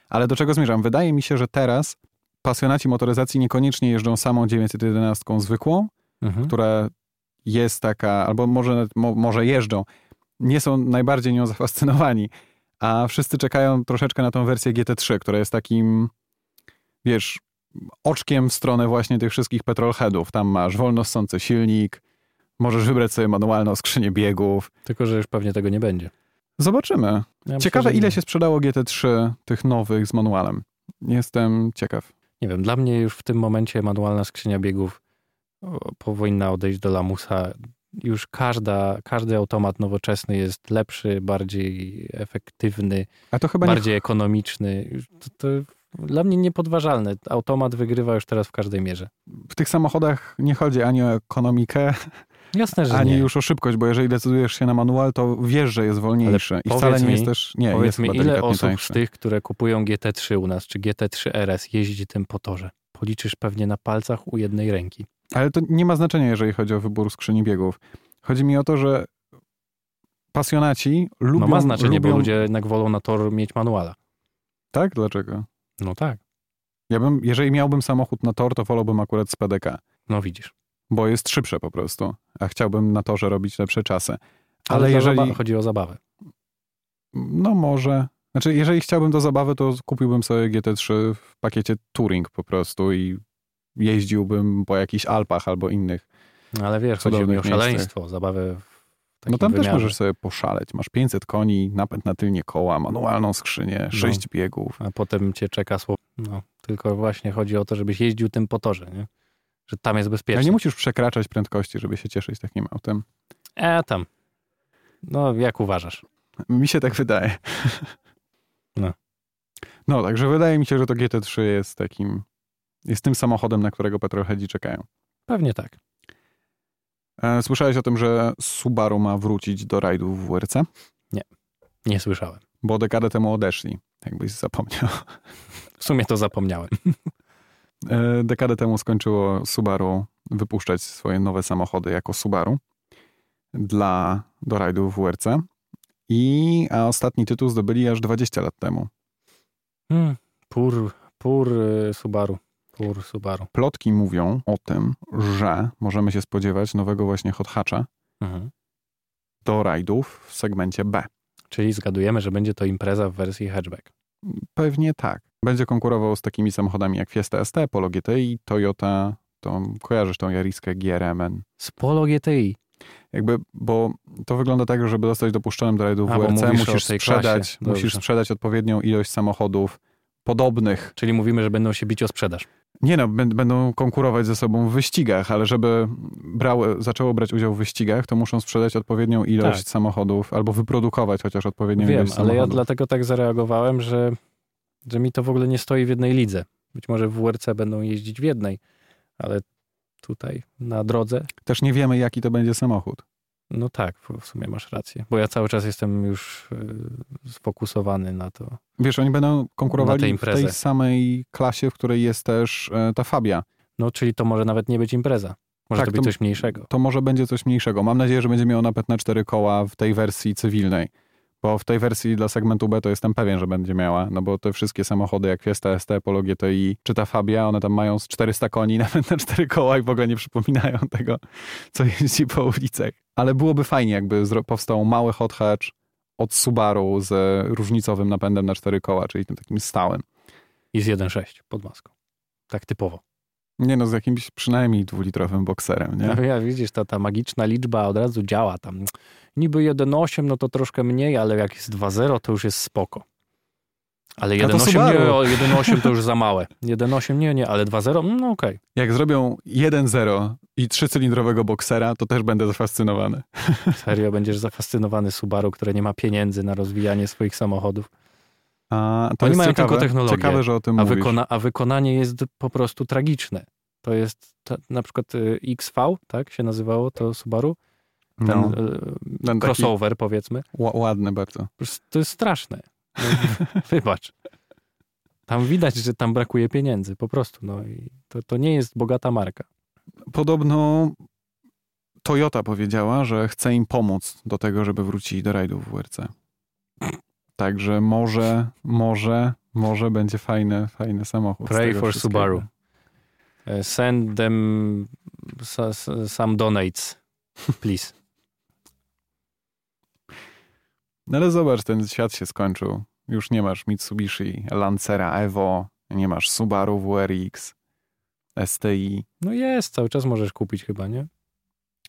Speaker 1: Ale do czego zmierzam? Wydaje mi się, że teraz pasjonaci motoryzacji niekoniecznie jeżdżą samą 911 zwykłą,
Speaker 2: Mhm.
Speaker 1: która jest taka, albo może, nawet- mo, może jeżdżą, nie są najbardziej nią zafascynowani, a wszyscy czekają troszeczkę na tą wersję GT3, która jest takim, wiesz, oczkiem w stronę właśnie tych wszystkich petrolheadów. Tam masz wolnossący silnik, możesz wybrać sobie manualną skrzynię biegów.
Speaker 2: Tylko, że już pewnie tego nie będzie.
Speaker 1: Zobaczymy.
Speaker 2: Ja
Speaker 1: Ciekawe,
Speaker 2: myślę, że
Speaker 1: ile
Speaker 2: nie.
Speaker 1: się sprzedało GT3 tych nowych z manualem. Jestem ciekaw.
Speaker 2: Nie wiem, dla mnie już w tym momencie manualna skrzynia biegów o, powinna odejść do lamusa. Już każda, każdy automat nowoczesny jest lepszy, bardziej efektywny,
Speaker 1: A to chyba nie
Speaker 2: bardziej ekonomiczny. Już To, to dla mnie niepodważalne. Automat wygrywa już teraz w każdej mierze.
Speaker 1: w tych samochodach nie chodzi ani o ekonomikę,
Speaker 2: Jasne, że
Speaker 1: Ani
Speaker 2: nie.
Speaker 1: już o szybkość, bo jeżeli decydujesz się na manual, to wiesz, że jest wolniejszy i
Speaker 2: powiedz
Speaker 1: wcale nie
Speaker 2: mi-
Speaker 1: jest też nie, jest
Speaker 2: Powiedz mi,
Speaker 1: chyba
Speaker 2: ile
Speaker 1: delikatnie
Speaker 2: osób z
Speaker 1: tańszy.
Speaker 2: tych, które kupują GT3 u nas, czy GT3 RS, jeździ tym po torze? Policzysz pewnie na palcach u jednej ręki.
Speaker 1: Ale to nie ma znaczenia, jeżeli chodzi o wybór skrzyni biegów. Chodzi mi o to, że pasjonaci lubią...
Speaker 2: no ma znaczenie,
Speaker 1: lubią...
Speaker 2: bo ludzie jednak wolą na tor mieć manuala.
Speaker 1: Tak? Dlaczego?
Speaker 2: No tak,
Speaker 1: Ja bym, jeżeli miałbym samochód na tor, to wolałbym akurat z PDK,
Speaker 2: no widzisz.
Speaker 1: bo jest szybsze po prostu, a chciałbym na torze robić lepsze czasy.
Speaker 2: Ale,
Speaker 1: Ale
Speaker 2: jeżeli...
Speaker 1: jeżeli...
Speaker 2: chodzi o zabawę.
Speaker 1: No może... Znaczy, jeżeli chciałbym do zabawy, to kupiłbym sobie GT3 w pakiecie Touring po prostu i jeździłbym po jakichś Alpach albo innych.
Speaker 2: No, ale wiesz, chodzi mi o
Speaker 1: Cudownych
Speaker 2: szaleństwo, zabawę w takim
Speaker 1: No tam
Speaker 2: wymiarze.
Speaker 1: też możesz sobie poszaleć. Masz 500 koni, napęd na tylnie koła, manualną skrzynię,
Speaker 2: No.
Speaker 1: 6 biegów.
Speaker 2: A potem cię czeka słowo. No, tylko właśnie chodzi o to, żebyś jeździł tym po torze, nie? Że tam jest
Speaker 1: Ale
Speaker 2: bezpiecznie.
Speaker 1: nie musisz przekraczać prędkości, żeby się cieszyć takim autem.
Speaker 2: E, tam. No, jak uważasz?
Speaker 1: Mi się tak wydaje.
Speaker 2: No.
Speaker 1: No, także wydaje mi się, że to GT3 jest takim, jest tym samochodem, na którego petrolheadzi czekają.
Speaker 2: Pewnie tak.
Speaker 1: E, Słyszałeś o tym, że Subaru ma wrócić do rajdów w WRC?
Speaker 2: Nie słyszałem.
Speaker 1: Bo dekadę temu odeszli, jakbyś zapomniał.
Speaker 2: W sumie to zapomniałem.
Speaker 1: E, Dekadę temu skończyło Subaru wypuszczać swoje nowe samochody jako Subaru dla do rajdów w WRC. I, a ostatni tytuł zdobyli aż 20 lat temu.
Speaker 2: Hmm, pur, pur y, Subaru. Pur Subaru.
Speaker 1: Plotki mówią o tym, że możemy się spodziewać nowego właśnie hot hatcha
Speaker 2: Mhm.
Speaker 1: do rajdów w segmencie B.
Speaker 2: Czyli zgadujemy, że będzie to impreza w wersji hatchback.
Speaker 1: Pewnie tak. Będzie konkurował z takimi samochodami jak Fiesta ST, Polo GTI, Toyota, tą, kojarzysz tą Jariskę GRMN.
Speaker 2: Z Polo GTI.
Speaker 1: Jakby, bo to wygląda tak, że żeby dostać dopuszczonym do rajdu
Speaker 2: A, bo
Speaker 1: WRC,
Speaker 2: mówisz o
Speaker 1: musisz
Speaker 2: tej
Speaker 1: sprzedać,
Speaker 2: klasie. Dobrze.
Speaker 1: musisz sprzedać odpowiednią ilość samochodów podobnych.
Speaker 2: Czyli mówimy, że będą się bić o sprzedaż.
Speaker 1: Nie no, bę- będą konkurować ze sobą w wyścigach, ale żeby brały, zaczęło brać udział w wyścigach, to muszą sprzedać odpowiednią ilość
Speaker 2: Tak.
Speaker 1: samochodów albo wyprodukować chociaż odpowiednią
Speaker 2: Wiem, ale
Speaker 1: ilość samochodów.
Speaker 2: ja dlatego tak zareagowałem, że, że mi to w ogóle nie stoi w jednej lidze. Być może w WRC będą jeździć w jednej, ale tutaj na drodze,
Speaker 1: Też nie wiemy, jaki to będzie samochód.
Speaker 2: no tak, w- w sumie masz rację. Bo ja cały czas jestem już y, sfokusowany na to.
Speaker 1: Wiesz, oni będą konkurowali
Speaker 2: Na tę
Speaker 1: w tej
Speaker 2: imprezę.
Speaker 1: samej klasie, w której jest też e, ta Fabia.
Speaker 2: No, czyli to może nawet nie być impreza. Może
Speaker 1: Tak,
Speaker 2: to być
Speaker 1: to-
Speaker 2: coś mniejszego.
Speaker 1: To może będzie coś mniejszego. Mam nadzieję, że będzie miał napęd na cztery koła w tej wersji cywilnej. Bo w tej wersji dla segmentu B to jestem pewien, że będzie miała, no bo te wszystkie samochody jak Fiesta ST, Polo GTI czy ta Fabia, one tam mają z 400 koni nawet na cztery koła i w ogóle nie przypominają tego, co jeździ po ulicach. Ale byłoby fajnie, jakby zro- powstał mały hot hatch od Subaru z różnicowym napędem na cztery koła, czyli tym takim stałym.
Speaker 2: I z 1.6 pod maską. Tak typowo.
Speaker 1: Nie no, z jakimś przynajmniej dwulitrowym bokserem, nie?
Speaker 2: No, ja widzisz, ta, ta magiczna liczba od razu działa tam. Niby 1,8 no to troszkę mniej, ale jak jest 2,0 to już jest spoko. Ale
Speaker 1: A No to
Speaker 2: 1,8
Speaker 1: Subaru.
Speaker 2: nie, o, 1,8 to już za małe. 1,8 nie, nie, ale 2,0 mm, no okej.
Speaker 1: Jak zrobią 1.0 i trzycylindrowego boksera, to też będę zafascynowany.
Speaker 2: Serio, będziesz zafascynowany Subaru, które nie ma pieniędzy na rozwijanie swoich samochodów.
Speaker 1: A, to
Speaker 2: Oni
Speaker 1: jest
Speaker 2: mają
Speaker 1: ciekawe,
Speaker 2: tylko technologię,
Speaker 1: Ciekawe, że o tym
Speaker 2: A,
Speaker 1: mówisz.
Speaker 2: wykona, a wykonanie jest po prostu tragiczne. To jest ta, na przykład y, XV, tak się nazywało to Subaru? Ten
Speaker 1: no,
Speaker 2: y,
Speaker 1: ten taki
Speaker 2: crossover powiedzmy.
Speaker 1: ła- ładny bardzo.
Speaker 2: Po prostu To jest straszne. No, wybacz. Tam widać, że tam brakuje pieniędzy, po prostu. No i to, to nie jest bogata marka.
Speaker 1: Podobno Toyota powiedziała, że chce im pomóc do tego, żeby wrócili do rajdów w WRC. Także może, może, może będzie fajny, fajny samochód. z
Speaker 2: Pray
Speaker 1: tego
Speaker 2: for
Speaker 1: wszystkiego.
Speaker 2: Subaru. E, Send them sa- s- some donates, please.
Speaker 1: No ale zobacz, ten świat się skończył. Już nie masz Mitsubishi, Lancera Evo, nie masz Subaru WRX, STI.
Speaker 2: No jest, cały czas możesz kupić chyba, nie?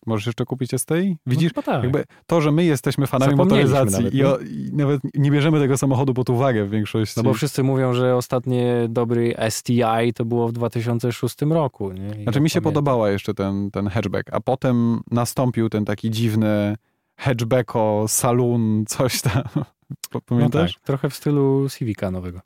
Speaker 1: Możesz jeszcze kupić STI? Widzisz,
Speaker 2: No, chyba tak.
Speaker 1: jakby to, że my jesteśmy fanami
Speaker 2: Zapomnieliśmy
Speaker 1: motoryzacji
Speaker 2: nawet,
Speaker 1: i,
Speaker 2: nie?
Speaker 1: o, i nawet nie bierzemy tego samochodu pod uwagę w większości.
Speaker 2: No bo wszyscy mówią, że ostatnie dobry STI to było w 2006 roku. Nie? I
Speaker 1: Znaczy
Speaker 2: ja
Speaker 1: mi się
Speaker 2: pamiętam.
Speaker 1: podobała jeszcze ten, ten hatchback, a potem nastąpił ten taki dziwny hatchbacko, saloon, coś tam. Pamiętasz?
Speaker 2: No tak, trochę w stylu Civica nowego.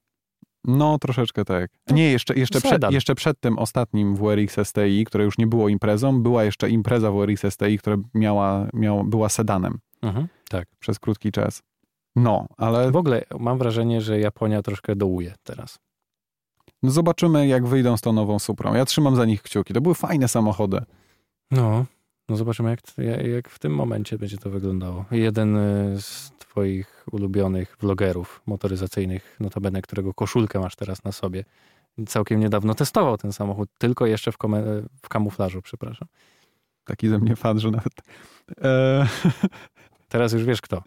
Speaker 1: No, troszeczkę tak. Nie, jeszcze, jeszcze, przed,
Speaker 2: sedan.
Speaker 1: jeszcze przed tym ostatnim WRX STI, które już nie było imprezą, była jeszcze impreza WRX STI, która miała, miała, była sedanem
Speaker 2: Mhm. Tak.
Speaker 1: przez krótki czas. No, ale
Speaker 2: W ogóle mam wrażenie, że Japonia troszkę dołuje teraz.
Speaker 1: no zobaczymy, jak wyjdą z tą nową Suprą. Ja trzymam za nich kciuki. To były fajne samochody.
Speaker 2: No, no zobaczymy, jak, jak- jak w tym momencie będzie to wyglądało. Jeden y, z Twoich ulubionych vlogerów motoryzacyjnych, notabene którego koszulkę masz teraz na sobie, całkiem niedawno testował ten samochód, tylko jeszcze w, kome- w kamuflażu, przepraszam.
Speaker 1: Taki ze mnie fan, że nawet... E,
Speaker 2: Teraz już wiesz kto.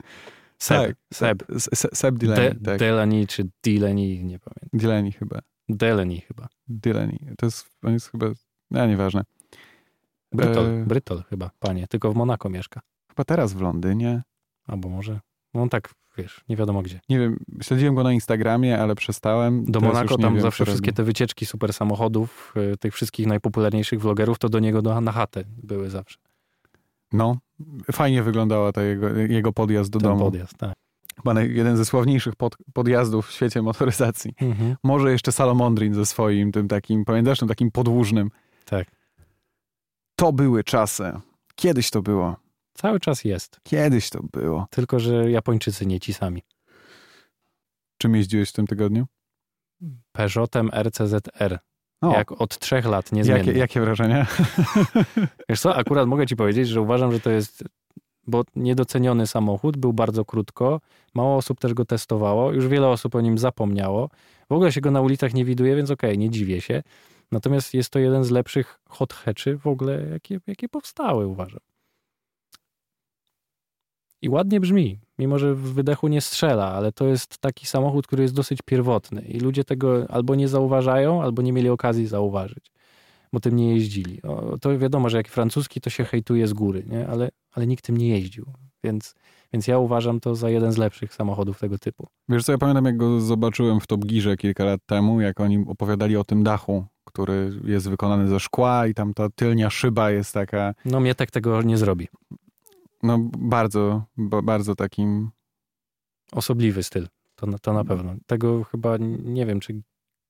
Speaker 2: Seb.
Speaker 1: Tak,
Speaker 2: Seb.
Speaker 1: Se- Se- Seb
Speaker 2: De,
Speaker 1: Delaney, tak.
Speaker 2: Delani czy Dileni, nie pamiętam.
Speaker 1: Delaney chyba.
Speaker 2: Delany chyba.
Speaker 1: Dyleni. To jest, on jest chyba, no nieważne.
Speaker 2: Brytol,
Speaker 1: E,
Speaker 2: Brytol chyba, panie. Tylko w Monako mieszka.
Speaker 1: Chyba teraz w Londynie.
Speaker 2: Albo może, no on tak, wiesz, nie wiadomo gdzie.
Speaker 1: Nie wiem, śledziłem go na Instagramie, ale przestałem.
Speaker 2: Do
Speaker 1: Teraz
Speaker 2: Monako
Speaker 1: już nie
Speaker 2: tam
Speaker 1: wiem,
Speaker 2: zawsze
Speaker 1: co robi.
Speaker 2: wszystkie te wycieczki super samochodów, y, tych wszystkich najpopularniejszych vlogerów, to do niego do, na chatę były zawsze.
Speaker 1: No, fajnie wyglądała ta jego, jego podjazd do
Speaker 2: Ten
Speaker 1: domu.
Speaker 2: podjazd, tak.
Speaker 1: Chyba naj- jeden ze sławniejszych pod, podjazdów w świecie motoryzacji.
Speaker 2: Mhm.
Speaker 1: Może jeszcze Salomondrin ze swoim tym takim, pamiętasz, tym takim podłużnym.
Speaker 2: Tak.
Speaker 1: To były czasy. Kiedyś to było.
Speaker 2: Cały czas jest,
Speaker 1: Kiedyś to było.
Speaker 2: tylko że Japończycy nie ci sami.
Speaker 1: Czym jeździłeś w tym tygodniu?
Speaker 2: Peugeotem RCZR,
Speaker 1: O,
Speaker 2: jak od trzech lat, niezmiennie.
Speaker 1: No. jakie, jakie wrażenia?
Speaker 2: Wiesz co, akurat mogę ci powiedzieć, że uważam, że to jest, bo niedoceniony samochód, był bardzo krótko, mało osób też go testowało, już wiele osób o nim zapomniało. W ogóle się go na ulicach nie widuje, więc okej, nie dziwię się. Natomiast jest to jeden z lepszych hot hatchy w ogóle, jakie, jakie powstały, uważam. I ładnie brzmi, mimo że w wydechu nie strzela, ale to jest taki samochód, który jest dosyć pierwotny i ludzie tego albo nie zauważają, albo nie mieli okazji zauważyć bo tym nie jeździli. O, to wiadomo, że jak francuski, to się hejtuje z góry, nie? Ale, ale nikt tym nie jeździł. Więc, więc ja uważam to za jeden z lepszych samochodów tego typu.
Speaker 1: Wiesz co, ja pamiętam jak go zobaczyłem w Top Gearze kilka lat temu, jak oni opowiadali o tym dachu, który jest wykonany ze szkła i tam ta tylnia szyba jest taka,
Speaker 2: No mnie tak tego nie zrobi.
Speaker 1: no bardzo, ba- bardzo takim,
Speaker 2: Osobliwy styl, to, na- to na
Speaker 1: Mhm.
Speaker 2: pewno. Tego chyba nie wiem, czy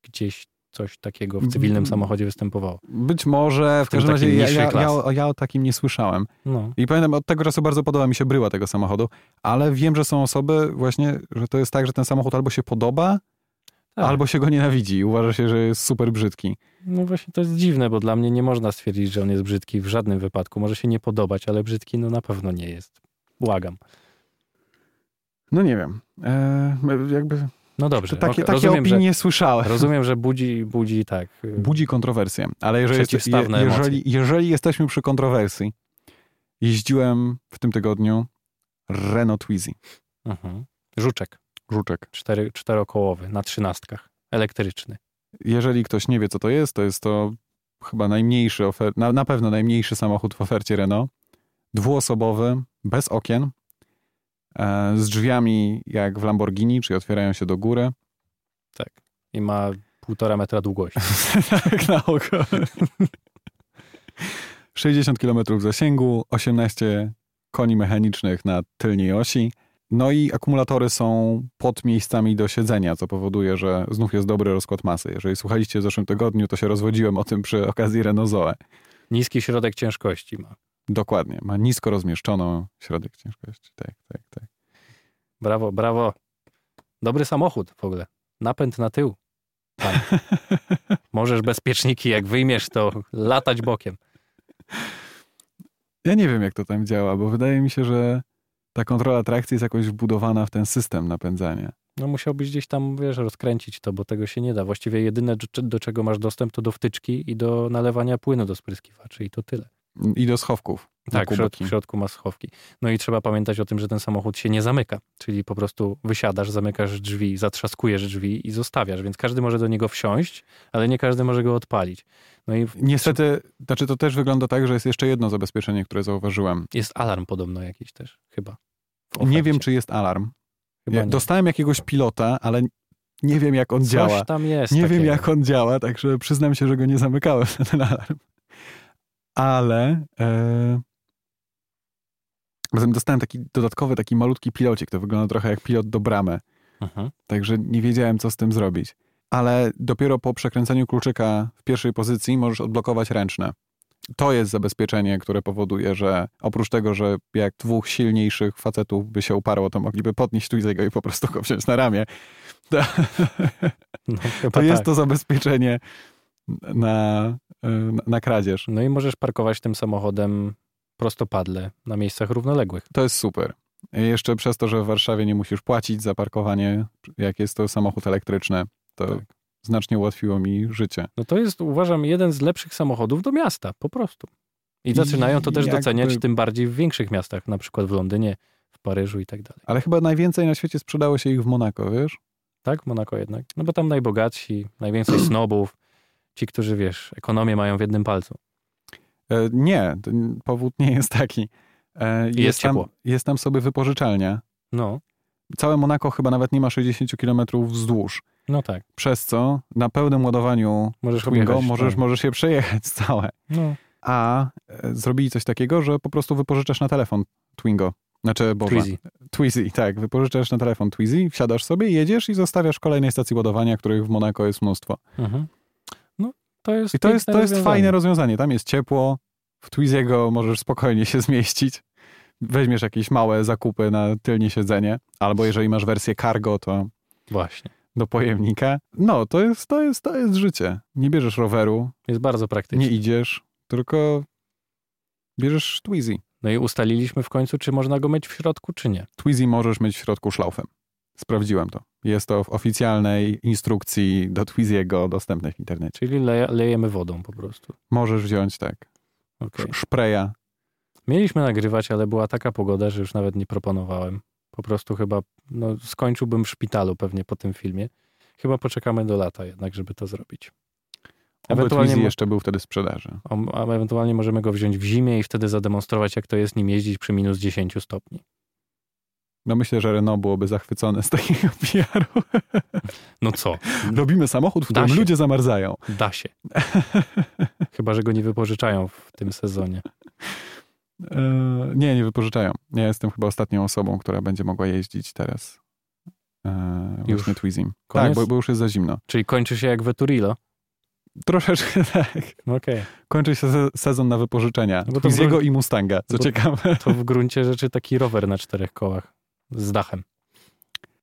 Speaker 2: gdzieś coś takiego w cywilnym
Speaker 1: Mm.
Speaker 2: samochodzie występowało.
Speaker 1: być może, w,
Speaker 2: W tym
Speaker 1: każdym razie
Speaker 2: takim
Speaker 1: ja,
Speaker 2: niższej
Speaker 1: ja, ja,
Speaker 2: klasy.
Speaker 1: ja o takim nie słyszałem.
Speaker 2: No,
Speaker 1: I pamiętam, od tego czasu bardzo podoba mi się bryła tego samochodu, ale wiem, że są osoby właśnie, że to jest tak, że ten samochód albo się podoba,
Speaker 2: Tak.
Speaker 1: albo się go nienawidzi i uważa się, że jest super brzydki.
Speaker 2: no właśnie to jest dziwne, bo dla mnie nie można stwierdzić, że on jest brzydki w żadnym wypadku. Może się nie podobać, ale brzydki no na pewno nie jest. Błagam.
Speaker 1: No nie wiem, e, jakby
Speaker 2: No dobrze,
Speaker 1: takie,
Speaker 2: ok,
Speaker 1: takie
Speaker 2: rozumiem, że,
Speaker 1: opinie słyszałem.
Speaker 2: rozumiem, że budzi, budzi tak... y,
Speaker 1: budzi kontrowersję, ale jeżeli, jest, je,
Speaker 2: Przeciwstawne emocje.
Speaker 1: jeżeli, jeżeli jesteśmy przy kontrowersji, jeździłem w tym tygodniu Renault Twizy,
Speaker 2: Mhm. Żuczek,
Speaker 1: żuczek.
Speaker 2: cztery, czterokołowy, na trzynastkach, elektryczny.
Speaker 1: Jeżeli ktoś nie wie, co to jest, to jest to chyba najmniejszy, ofer- na, na pewno najmniejszy samochód w ofercie Renault. Dwuosobowy, bez okien, e, z drzwiami jak w Lamborghini, czyli otwierają się do góry.
Speaker 2: Tak. I ma półtora metra długości.
Speaker 1: tak na oko. 60 km zasięgu, 18 koni mechanicznych na tylnej osi. No i akumulatory są pod miejscami do siedzenia, co powoduje, że znów jest dobry rozkład masy. Jeżeli słuchaliście w zeszłym tygodniu, to się rozwodziłem o tym przy okazji Renault Zoe.
Speaker 2: Niski środek ciężkości ma.
Speaker 1: Dokładnie, ma nisko rozmieszczoną środek ciężkości. Tak, tak, tak.
Speaker 2: Brawo, brawo. Dobry samochód w ogóle. Napęd na tył. Pan. Możesz bezpieczniki, jak wyjmiesz, to latać bokiem.
Speaker 1: Ja nie wiem, jak to tam działa, bo wydaje mi się, że ta kontrola trakcji jest jakoś wbudowana w ten system napędzania.
Speaker 2: No musiałbyś gdzieś tam, wiesz, rozkręcić to, bo tego się nie da. Właściwie jedyne, do, do czego masz dostęp, to do wtyczki i do nalewania płynu do spryskiwaczy i to tyle.
Speaker 1: I do schowków. na
Speaker 2: Tak, w, środ,
Speaker 1: kubki.
Speaker 2: w środku ma schowki. No i trzeba pamiętać o tym, że ten samochód się nie zamyka. Czyli po prostu wysiadasz, zamykasz drzwi, zatrzaskujesz drzwi i zostawiasz. Więc każdy może do niego wsiąść, ale nie każdy może go odpalić. No i w-
Speaker 1: Niestety, znaczy to też wygląda tak, że jest jeszcze jedno zabezpieczenie, które zauważyłem.
Speaker 2: jest alarm podobno jakiś też, chyba. w
Speaker 1: Nie wiem,
Speaker 2: ofercie.
Speaker 1: czy jest alarm.
Speaker 2: Chyba
Speaker 1: Ja
Speaker 2: nie.
Speaker 1: Dostałem jakiegoś pilota, ale nie wiem, jak on działa.
Speaker 2: Coś tam jest.
Speaker 1: Nie wiem,
Speaker 2: takiego.
Speaker 1: jak on działa, także przyznam się, że go nie zamykałem na ten alarm. Ale e... potem dostałem taki dodatkowy, taki malutki pilocik. To wygląda trochę jak pilot do bramy.
Speaker 2: Mhm.
Speaker 1: Także nie wiedziałem, co z tym zrobić. Ale dopiero po przekręceniu kluczyka w pierwszej pozycji możesz odblokować ręczne. To jest zabezpieczenie, które powoduje, że oprócz tego, że jak dwóch silniejszych facetów by się uparło, to mogliby podnieść Twizzego i po prostu go wziąć na ramię. To,
Speaker 2: No, chyba
Speaker 1: to jest
Speaker 2: tak.
Speaker 1: to zabezpieczenie na, y, na- na kradzież.
Speaker 2: No i możesz parkować tym samochodem prostopadle na miejscach równoległych.
Speaker 1: To jest super. Jeszcze przez to, że w Warszawie nie musisz płacić za parkowanie, jak jest to samochód elektryczny, to
Speaker 2: Tak.
Speaker 1: znacznie ułatwiło mi życie.
Speaker 2: No to jest, uważam, jeden z lepszych samochodów do miasta, po prostu. I
Speaker 1: I
Speaker 2: zaczynają to też
Speaker 1: jakby-
Speaker 2: doceniać, tym bardziej w większych miastach, na przykład w Londynie, w Paryżu i tak dalej.
Speaker 1: Ale chyba najwięcej na świecie sprzedało się ich w Monako, wiesz?
Speaker 2: tak? Monako jednak. No bo tam najbogatsi, najwięcej snobów, ci, którzy, wiesz, ekonomię mają w jednym palcu.
Speaker 1: E, Nie, t- n- powód nie jest taki. E, Jest, tam,
Speaker 2: ciepło.
Speaker 1: jest tam sobie wypożyczalnia.
Speaker 2: No,
Speaker 1: Całe Monako chyba nawet nie ma 60 km wzdłuż,
Speaker 2: no tak.
Speaker 1: przez co na pełnym ładowaniu
Speaker 2: Możesz
Speaker 1: Twingo
Speaker 2: objechać.
Speaker 1: możesz,
Speaker 2: no.
Speaker 1: możesz się przejechać całe.
Speaker 2: no,
Speaker 1: A e, zrobili coś takiego, że po prostu wypożyczasz na telefon Twingo. Znaczy, Boże,
Speaker 2: Twizy.
Speaker 1: Twizy, tak. Wypożyczasz na telefon Twizy, wsiadasz sobie, jedziesz i zostawiasz w kolejnej stacji ładowania, których w Monako jest mnóstwo.
Speaker 2: Mhm. No, to jest
Speaker 1: I to jest,
Speaker 2: piękne
Speaker 1: to jest
Speaker 2: rozwiązanie.
Speaker 1: fajne rozwiązanie. Tam jest ciepło, w Twiziego możesz spokojnie się zmieścić. Weźmiesz jakieś małe zakupy na tylnie siedzenie, albo jeżeli masz wersję cargo, to
Speaker 2: Właśnie.
Speaker 1: do pojemnika. No, to jest, to jest, to jest życie. Nie bierzesz roweru,
Speaker 2: Jest bardzo
Speaker 1: nie
Speaker 2: praktyczne.
Speaker 1: idziesz, tylko bierzesz Twizy.
Speaker 2: No i ustaliliśmy w końcu, czy można go mieć w środku, czy nie.
Speaker 1: Twizy możesz mieć w środku szlaufem. Sprawdziłem to. Jest to w oficjalnej instrukcji do Twiziego dostępnej w internecie.
Speaker 2: Czyli leje, lejemy wodą po prostu.
Speaker 1: Możesz wziąć tak.
Speaker 2: Okej.
Speaker 1: sz- Szpreja.
Speaker 2: Mieliśmy nagrywać, ale była taka pogoda, że już nawet nie proponowałem. Po prostu chyba no, skończyłbym w szpitalu pewnie po tym filmie. Chyba poczekamy do lata jednak, żeby to zrobić.
Speaker 1: Oby
Speaker 2: Ewentualnie
Speaker 1: Twizy
Speaker 2: mo-
Speaker 1: jeszcze był wtedy w sprzedaży.
Speaker 2: O, A ewentualnie możemy go wziąć w zimie i wtedy zademonstrować, jak to jest nim jeździć przy minus 10 stopni.
Speaker 1: No myślę, że Renault byłoby zachwycone z takiego PR-u.
Speaker 2: No co?
Speaker 1: Robimy samochód, w
Speaker 2: Da
Speaker 1: którym
Speaker 2: się.
Speaker 1: ludzie zamarzają.
Speaker 2: Da się. Chyba, że go nie wypożyczają w tym sezonie.
Speaker 1: E, nie, nie wypożyczają. Ja jestem chyba ostatnią osobą, która będzie mogła jeździć teraz. E,
Speaker 2: Już?
Speaker 1: Właśnie Twizim.
Speaker 2: Koniec?
Speaker 1: Tak, bo, bo już jest za zimno.
Speaker 2: Czyli kończy się jak Veturilo.
Speaker 1: Troszeczkę tak.
Speaker 2: Okej.
Speaker 1: Kończy się se- sezon na wypożyczenia.
Speaker 2: No bo
Speaker 1: No
Speaker 2: to
Speaker 1: Twiziego
Speaker 2: wró-
Speaker 1: i Mustanga, co
Speaker 2: bo-
Speaker 1: ciekawe.
Speaker 2: To w gruncie rzeczy taki rower na czterech kołach z dachem.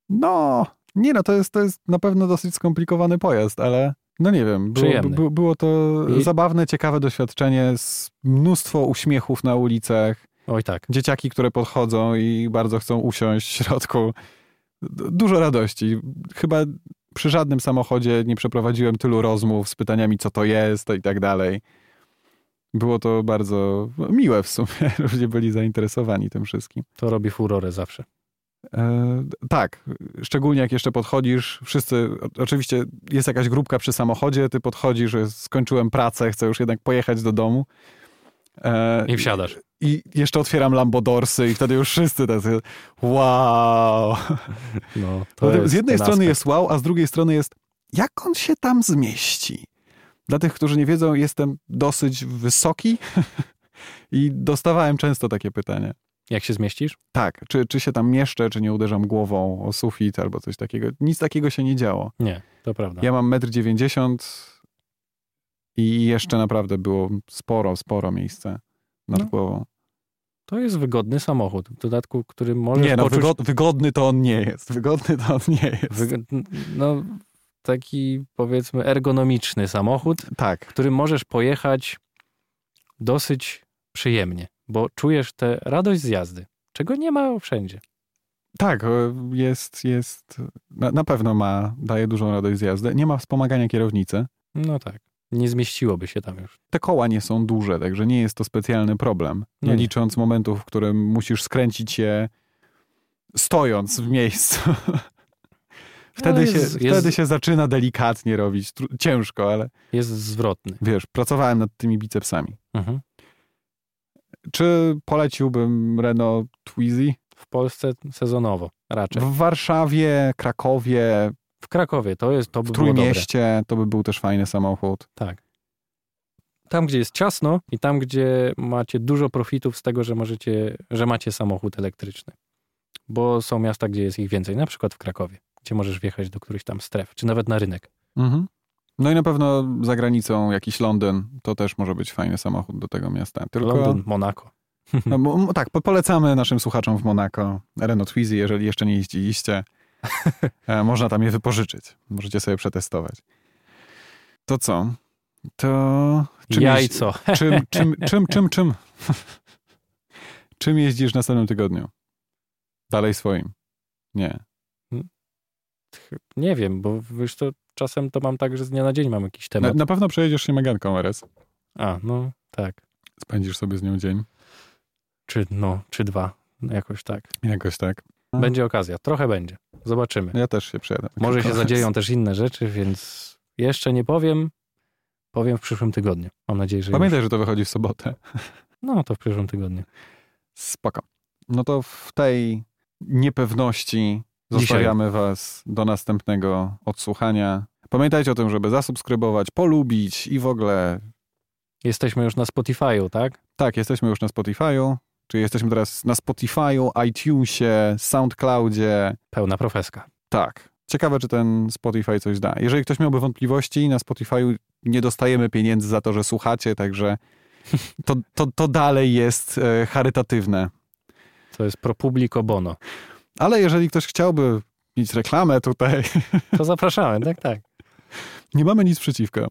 Speaker 1: No, nie no, to jest, to jest na pewno dosyć skomplikowany pojazd, ale no nie wiem, było,
Speaker 2: Przyjemny.
Speaker 1: by, było to
Speaker 2: I-
Speaker 1: zabawne, ciekawe doświadczenie z mnóstwo uśmiechów na ulicach,
Speaker 2: Oj tak.
Speaker 1: dzieciaki, które podchodzą i bardzo chcą usiąść w środku. D- Dużo radości. Chyba przy żadnym samochodzie nie przeprowadziłem tylu rozmów z pytaniami, co to jest i tak dalej. Było to bardzo miłe w sumie. Ludzie byli zainteresowani tym wszystkim.
Speaker 2: To robi furorę zawsze.
Speaker 1: E, tak, szczególnie jak jeszcze podchodzisz, wszyscy, o, oczywiście jest jakaś grupka przy samochodzie, ty podchodzisz, że skończyłem pracę, chcę już jednak pojechać do domu. E,
Speaker 2: I wsiadasz.
Speaker 1: I jeszcze otwieram Lambodorsy i wtedy już wszyscy tacy wow.
Speaker 2: No,
Speaker 1: Bo
Speaker 2: to jest
Speaker 1: z jednej
Speaker 2: ten
Speaker 1: strony
Speaker 2: aspekt.
Speaker 1: jest wow, a z drugiej strony jest jak on się tam zmieści? Dla tych, którzy nie wiedzą, jestem dosyć wysoki i dostawałem często takie pytania.
Speaker 2: Jak się zmieścisz?
Speaker 1: Tak, czy, czy się tam mieszczę, czy nie uderzam głową o sufit albo coś takiego. Nic takiego się nie działo.
Speaker 2: Nie, to prawda.
Speaker 1: Ja mam 1,90 m i jeszcze naprawdę było sporo, sporo miejsca nad
Speaker 2: No,
Speaker 1: głową.
Speaker 2: To jest wygodny samochód. W dodatku, który możesz
Speaker 1: Nie, no
Speaker 2: poczuć...
Speaker 1: wygod, wygodny to on nie jest. Wygodny to on nie jest.
Speaker 2: wyg- No, taki powiedzmy ergonomiczny samochód,
Speaker 1: tak,
Speaker 2: którym możesz pojechać dosyć przyjemnie, bo czujesz tę radość z jazdy, czego nie ma wszędzie.
Speaker 1: tak, e, jest, jest, na, na pewno ma, daje dużą radość z jazdy. Nie ma wspomagania kierownicy.
Speaker 2: No tak. Nie zmieściłoby się tam już.
Speaker 1: Te koła nie są duże, także nie jest to specjalny problem. Nie,
Speaker 2: No nie.
Speaker 1: licząc momentów, w którym musisz skręcić je stojąc w miejscu. wtedy,
Speaker 2: Ale
Speaker 1: się,
Speaker 2: No, jest-
Speaker 1: wtedy
Speaker 2: jest-
Speaker 1: się zaczyna delikatnie robić. Tru- Ciężko, ale
Speaker 2: Jest zwrotny.
Speaker 1: wiesz, pracowałem nad tymi bicepsami.
Speaker 2: Mhm.
Speaker 1: Czy poleciłbym Renault Twizy?
Speaker 2: W Polsce sezonowo raczej.
Speaker 1: W Warszawie, Krakowie,
Speaker 2: W Krakowie to jest to by
Speaker 1: w
Speaker 2: było dobre.
Speaker 1: Trójmieście to by był też fajny samochód.
Speaker 2: Tak. Tam, gdzie jest ciasno i tam, gdzie macie dużo profitów z tego, że możecie, że macie samochód elektryczny. Bo są miasta, gdzie jest ich więcej, na przykład w Krakowie, gdzie możesz wjechać do którychś tam stref, czy nawet na rynek.
Speaker 1: Mhm. No i na pewno za granicą jakiś Londyn, to też może być fajny samochód do tego miasta. Tylko
Speaker 2: Londyn, Monako.
Speaker 1: No, bo, m- tak, po- polecamy naszym słuchaczom w Monako Renault Twizy, jeżeli jeszcze nie jeździliście. E, Można tam je wypożyczyć. Możecie sobie przetestować. To co? To czym jeździ-
Speaker 2: Jajco.
Speaker 1: czym, czym, czym, czym, czym? czym jeździsz w następnym tygodniu? Dalej swoim. Nie.
Speaker 2: Nie wiem, bo wiesz to czasem to mam tak, że z dnia na dzień mam jakiś
Speaker 1: Na,
Speaker 2: temat.
Speaker 1: na pewno przejedziesz się Meganką RS.
Speaker 2: A, no tak.
Speaker 1: Spędzisz sobie z nią dzień.
Speaker 2: Czy no, czy dwa. No, Jakoś tak.
Speaker 1: Jakoś tak.
Speaker 2: Będzie okazja. Trochę będzie. Zobaczymy.
Speaker 1: Ja też się przejadę.
Speaker 2: Może się zadzieją też inne rzeczy, więc jeszcze nie powiem. Powiem w przyszłym tygodniu. Mam nadzieję, że.
Speaker 1: Pamiętaj, że to wychodzi w sobotę.
Speaker 2: Już. No to w przyszłym tygodniu.
Speaker 1: Spoko. No to w tej niepewności
Speaker 2: Dzisiaj.
Speaker 1: zostawiamy was do następnego odsłuchania. Pamiętajcie o tym, żeby zasubskrybować, polubić i w ogóle...
Speaker 2: Jesteśmy już na Spotify'u, tak?
Speaker 1: Tak, jesteśmy już na Spotify'u, czyli jesteśmy teraz na Spotify'u, iTunesie, SoundCloudzie.
Speaker 2: Pełna profeska.
Speaker 1: Tak. Ciekawe, czy ten Spotify coś da. Jeżeli ktoś miałby wątpliwości, na Spotify'u nie dostajemy pieniędzy za to, że słuchacie, także to, to, to dalej jest e, charytatywne.
Speaker 2: To jest pro publico bono.
Speaker 1: Ale jeżeli ktoś chciałby mieć reklamę tutaj,
Speaker 2: To zapraszamy, tak, tak.
Speaker 1: nie mamy nic przeciwko.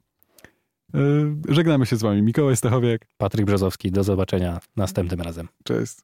Speaker 1: Yy, Żegnamy się z wami. Mikołaj Stachowiak.
Speaker 2: Patryk Brzozowski, do zobaczenia następnym razem.
Speaker 1: Cześć.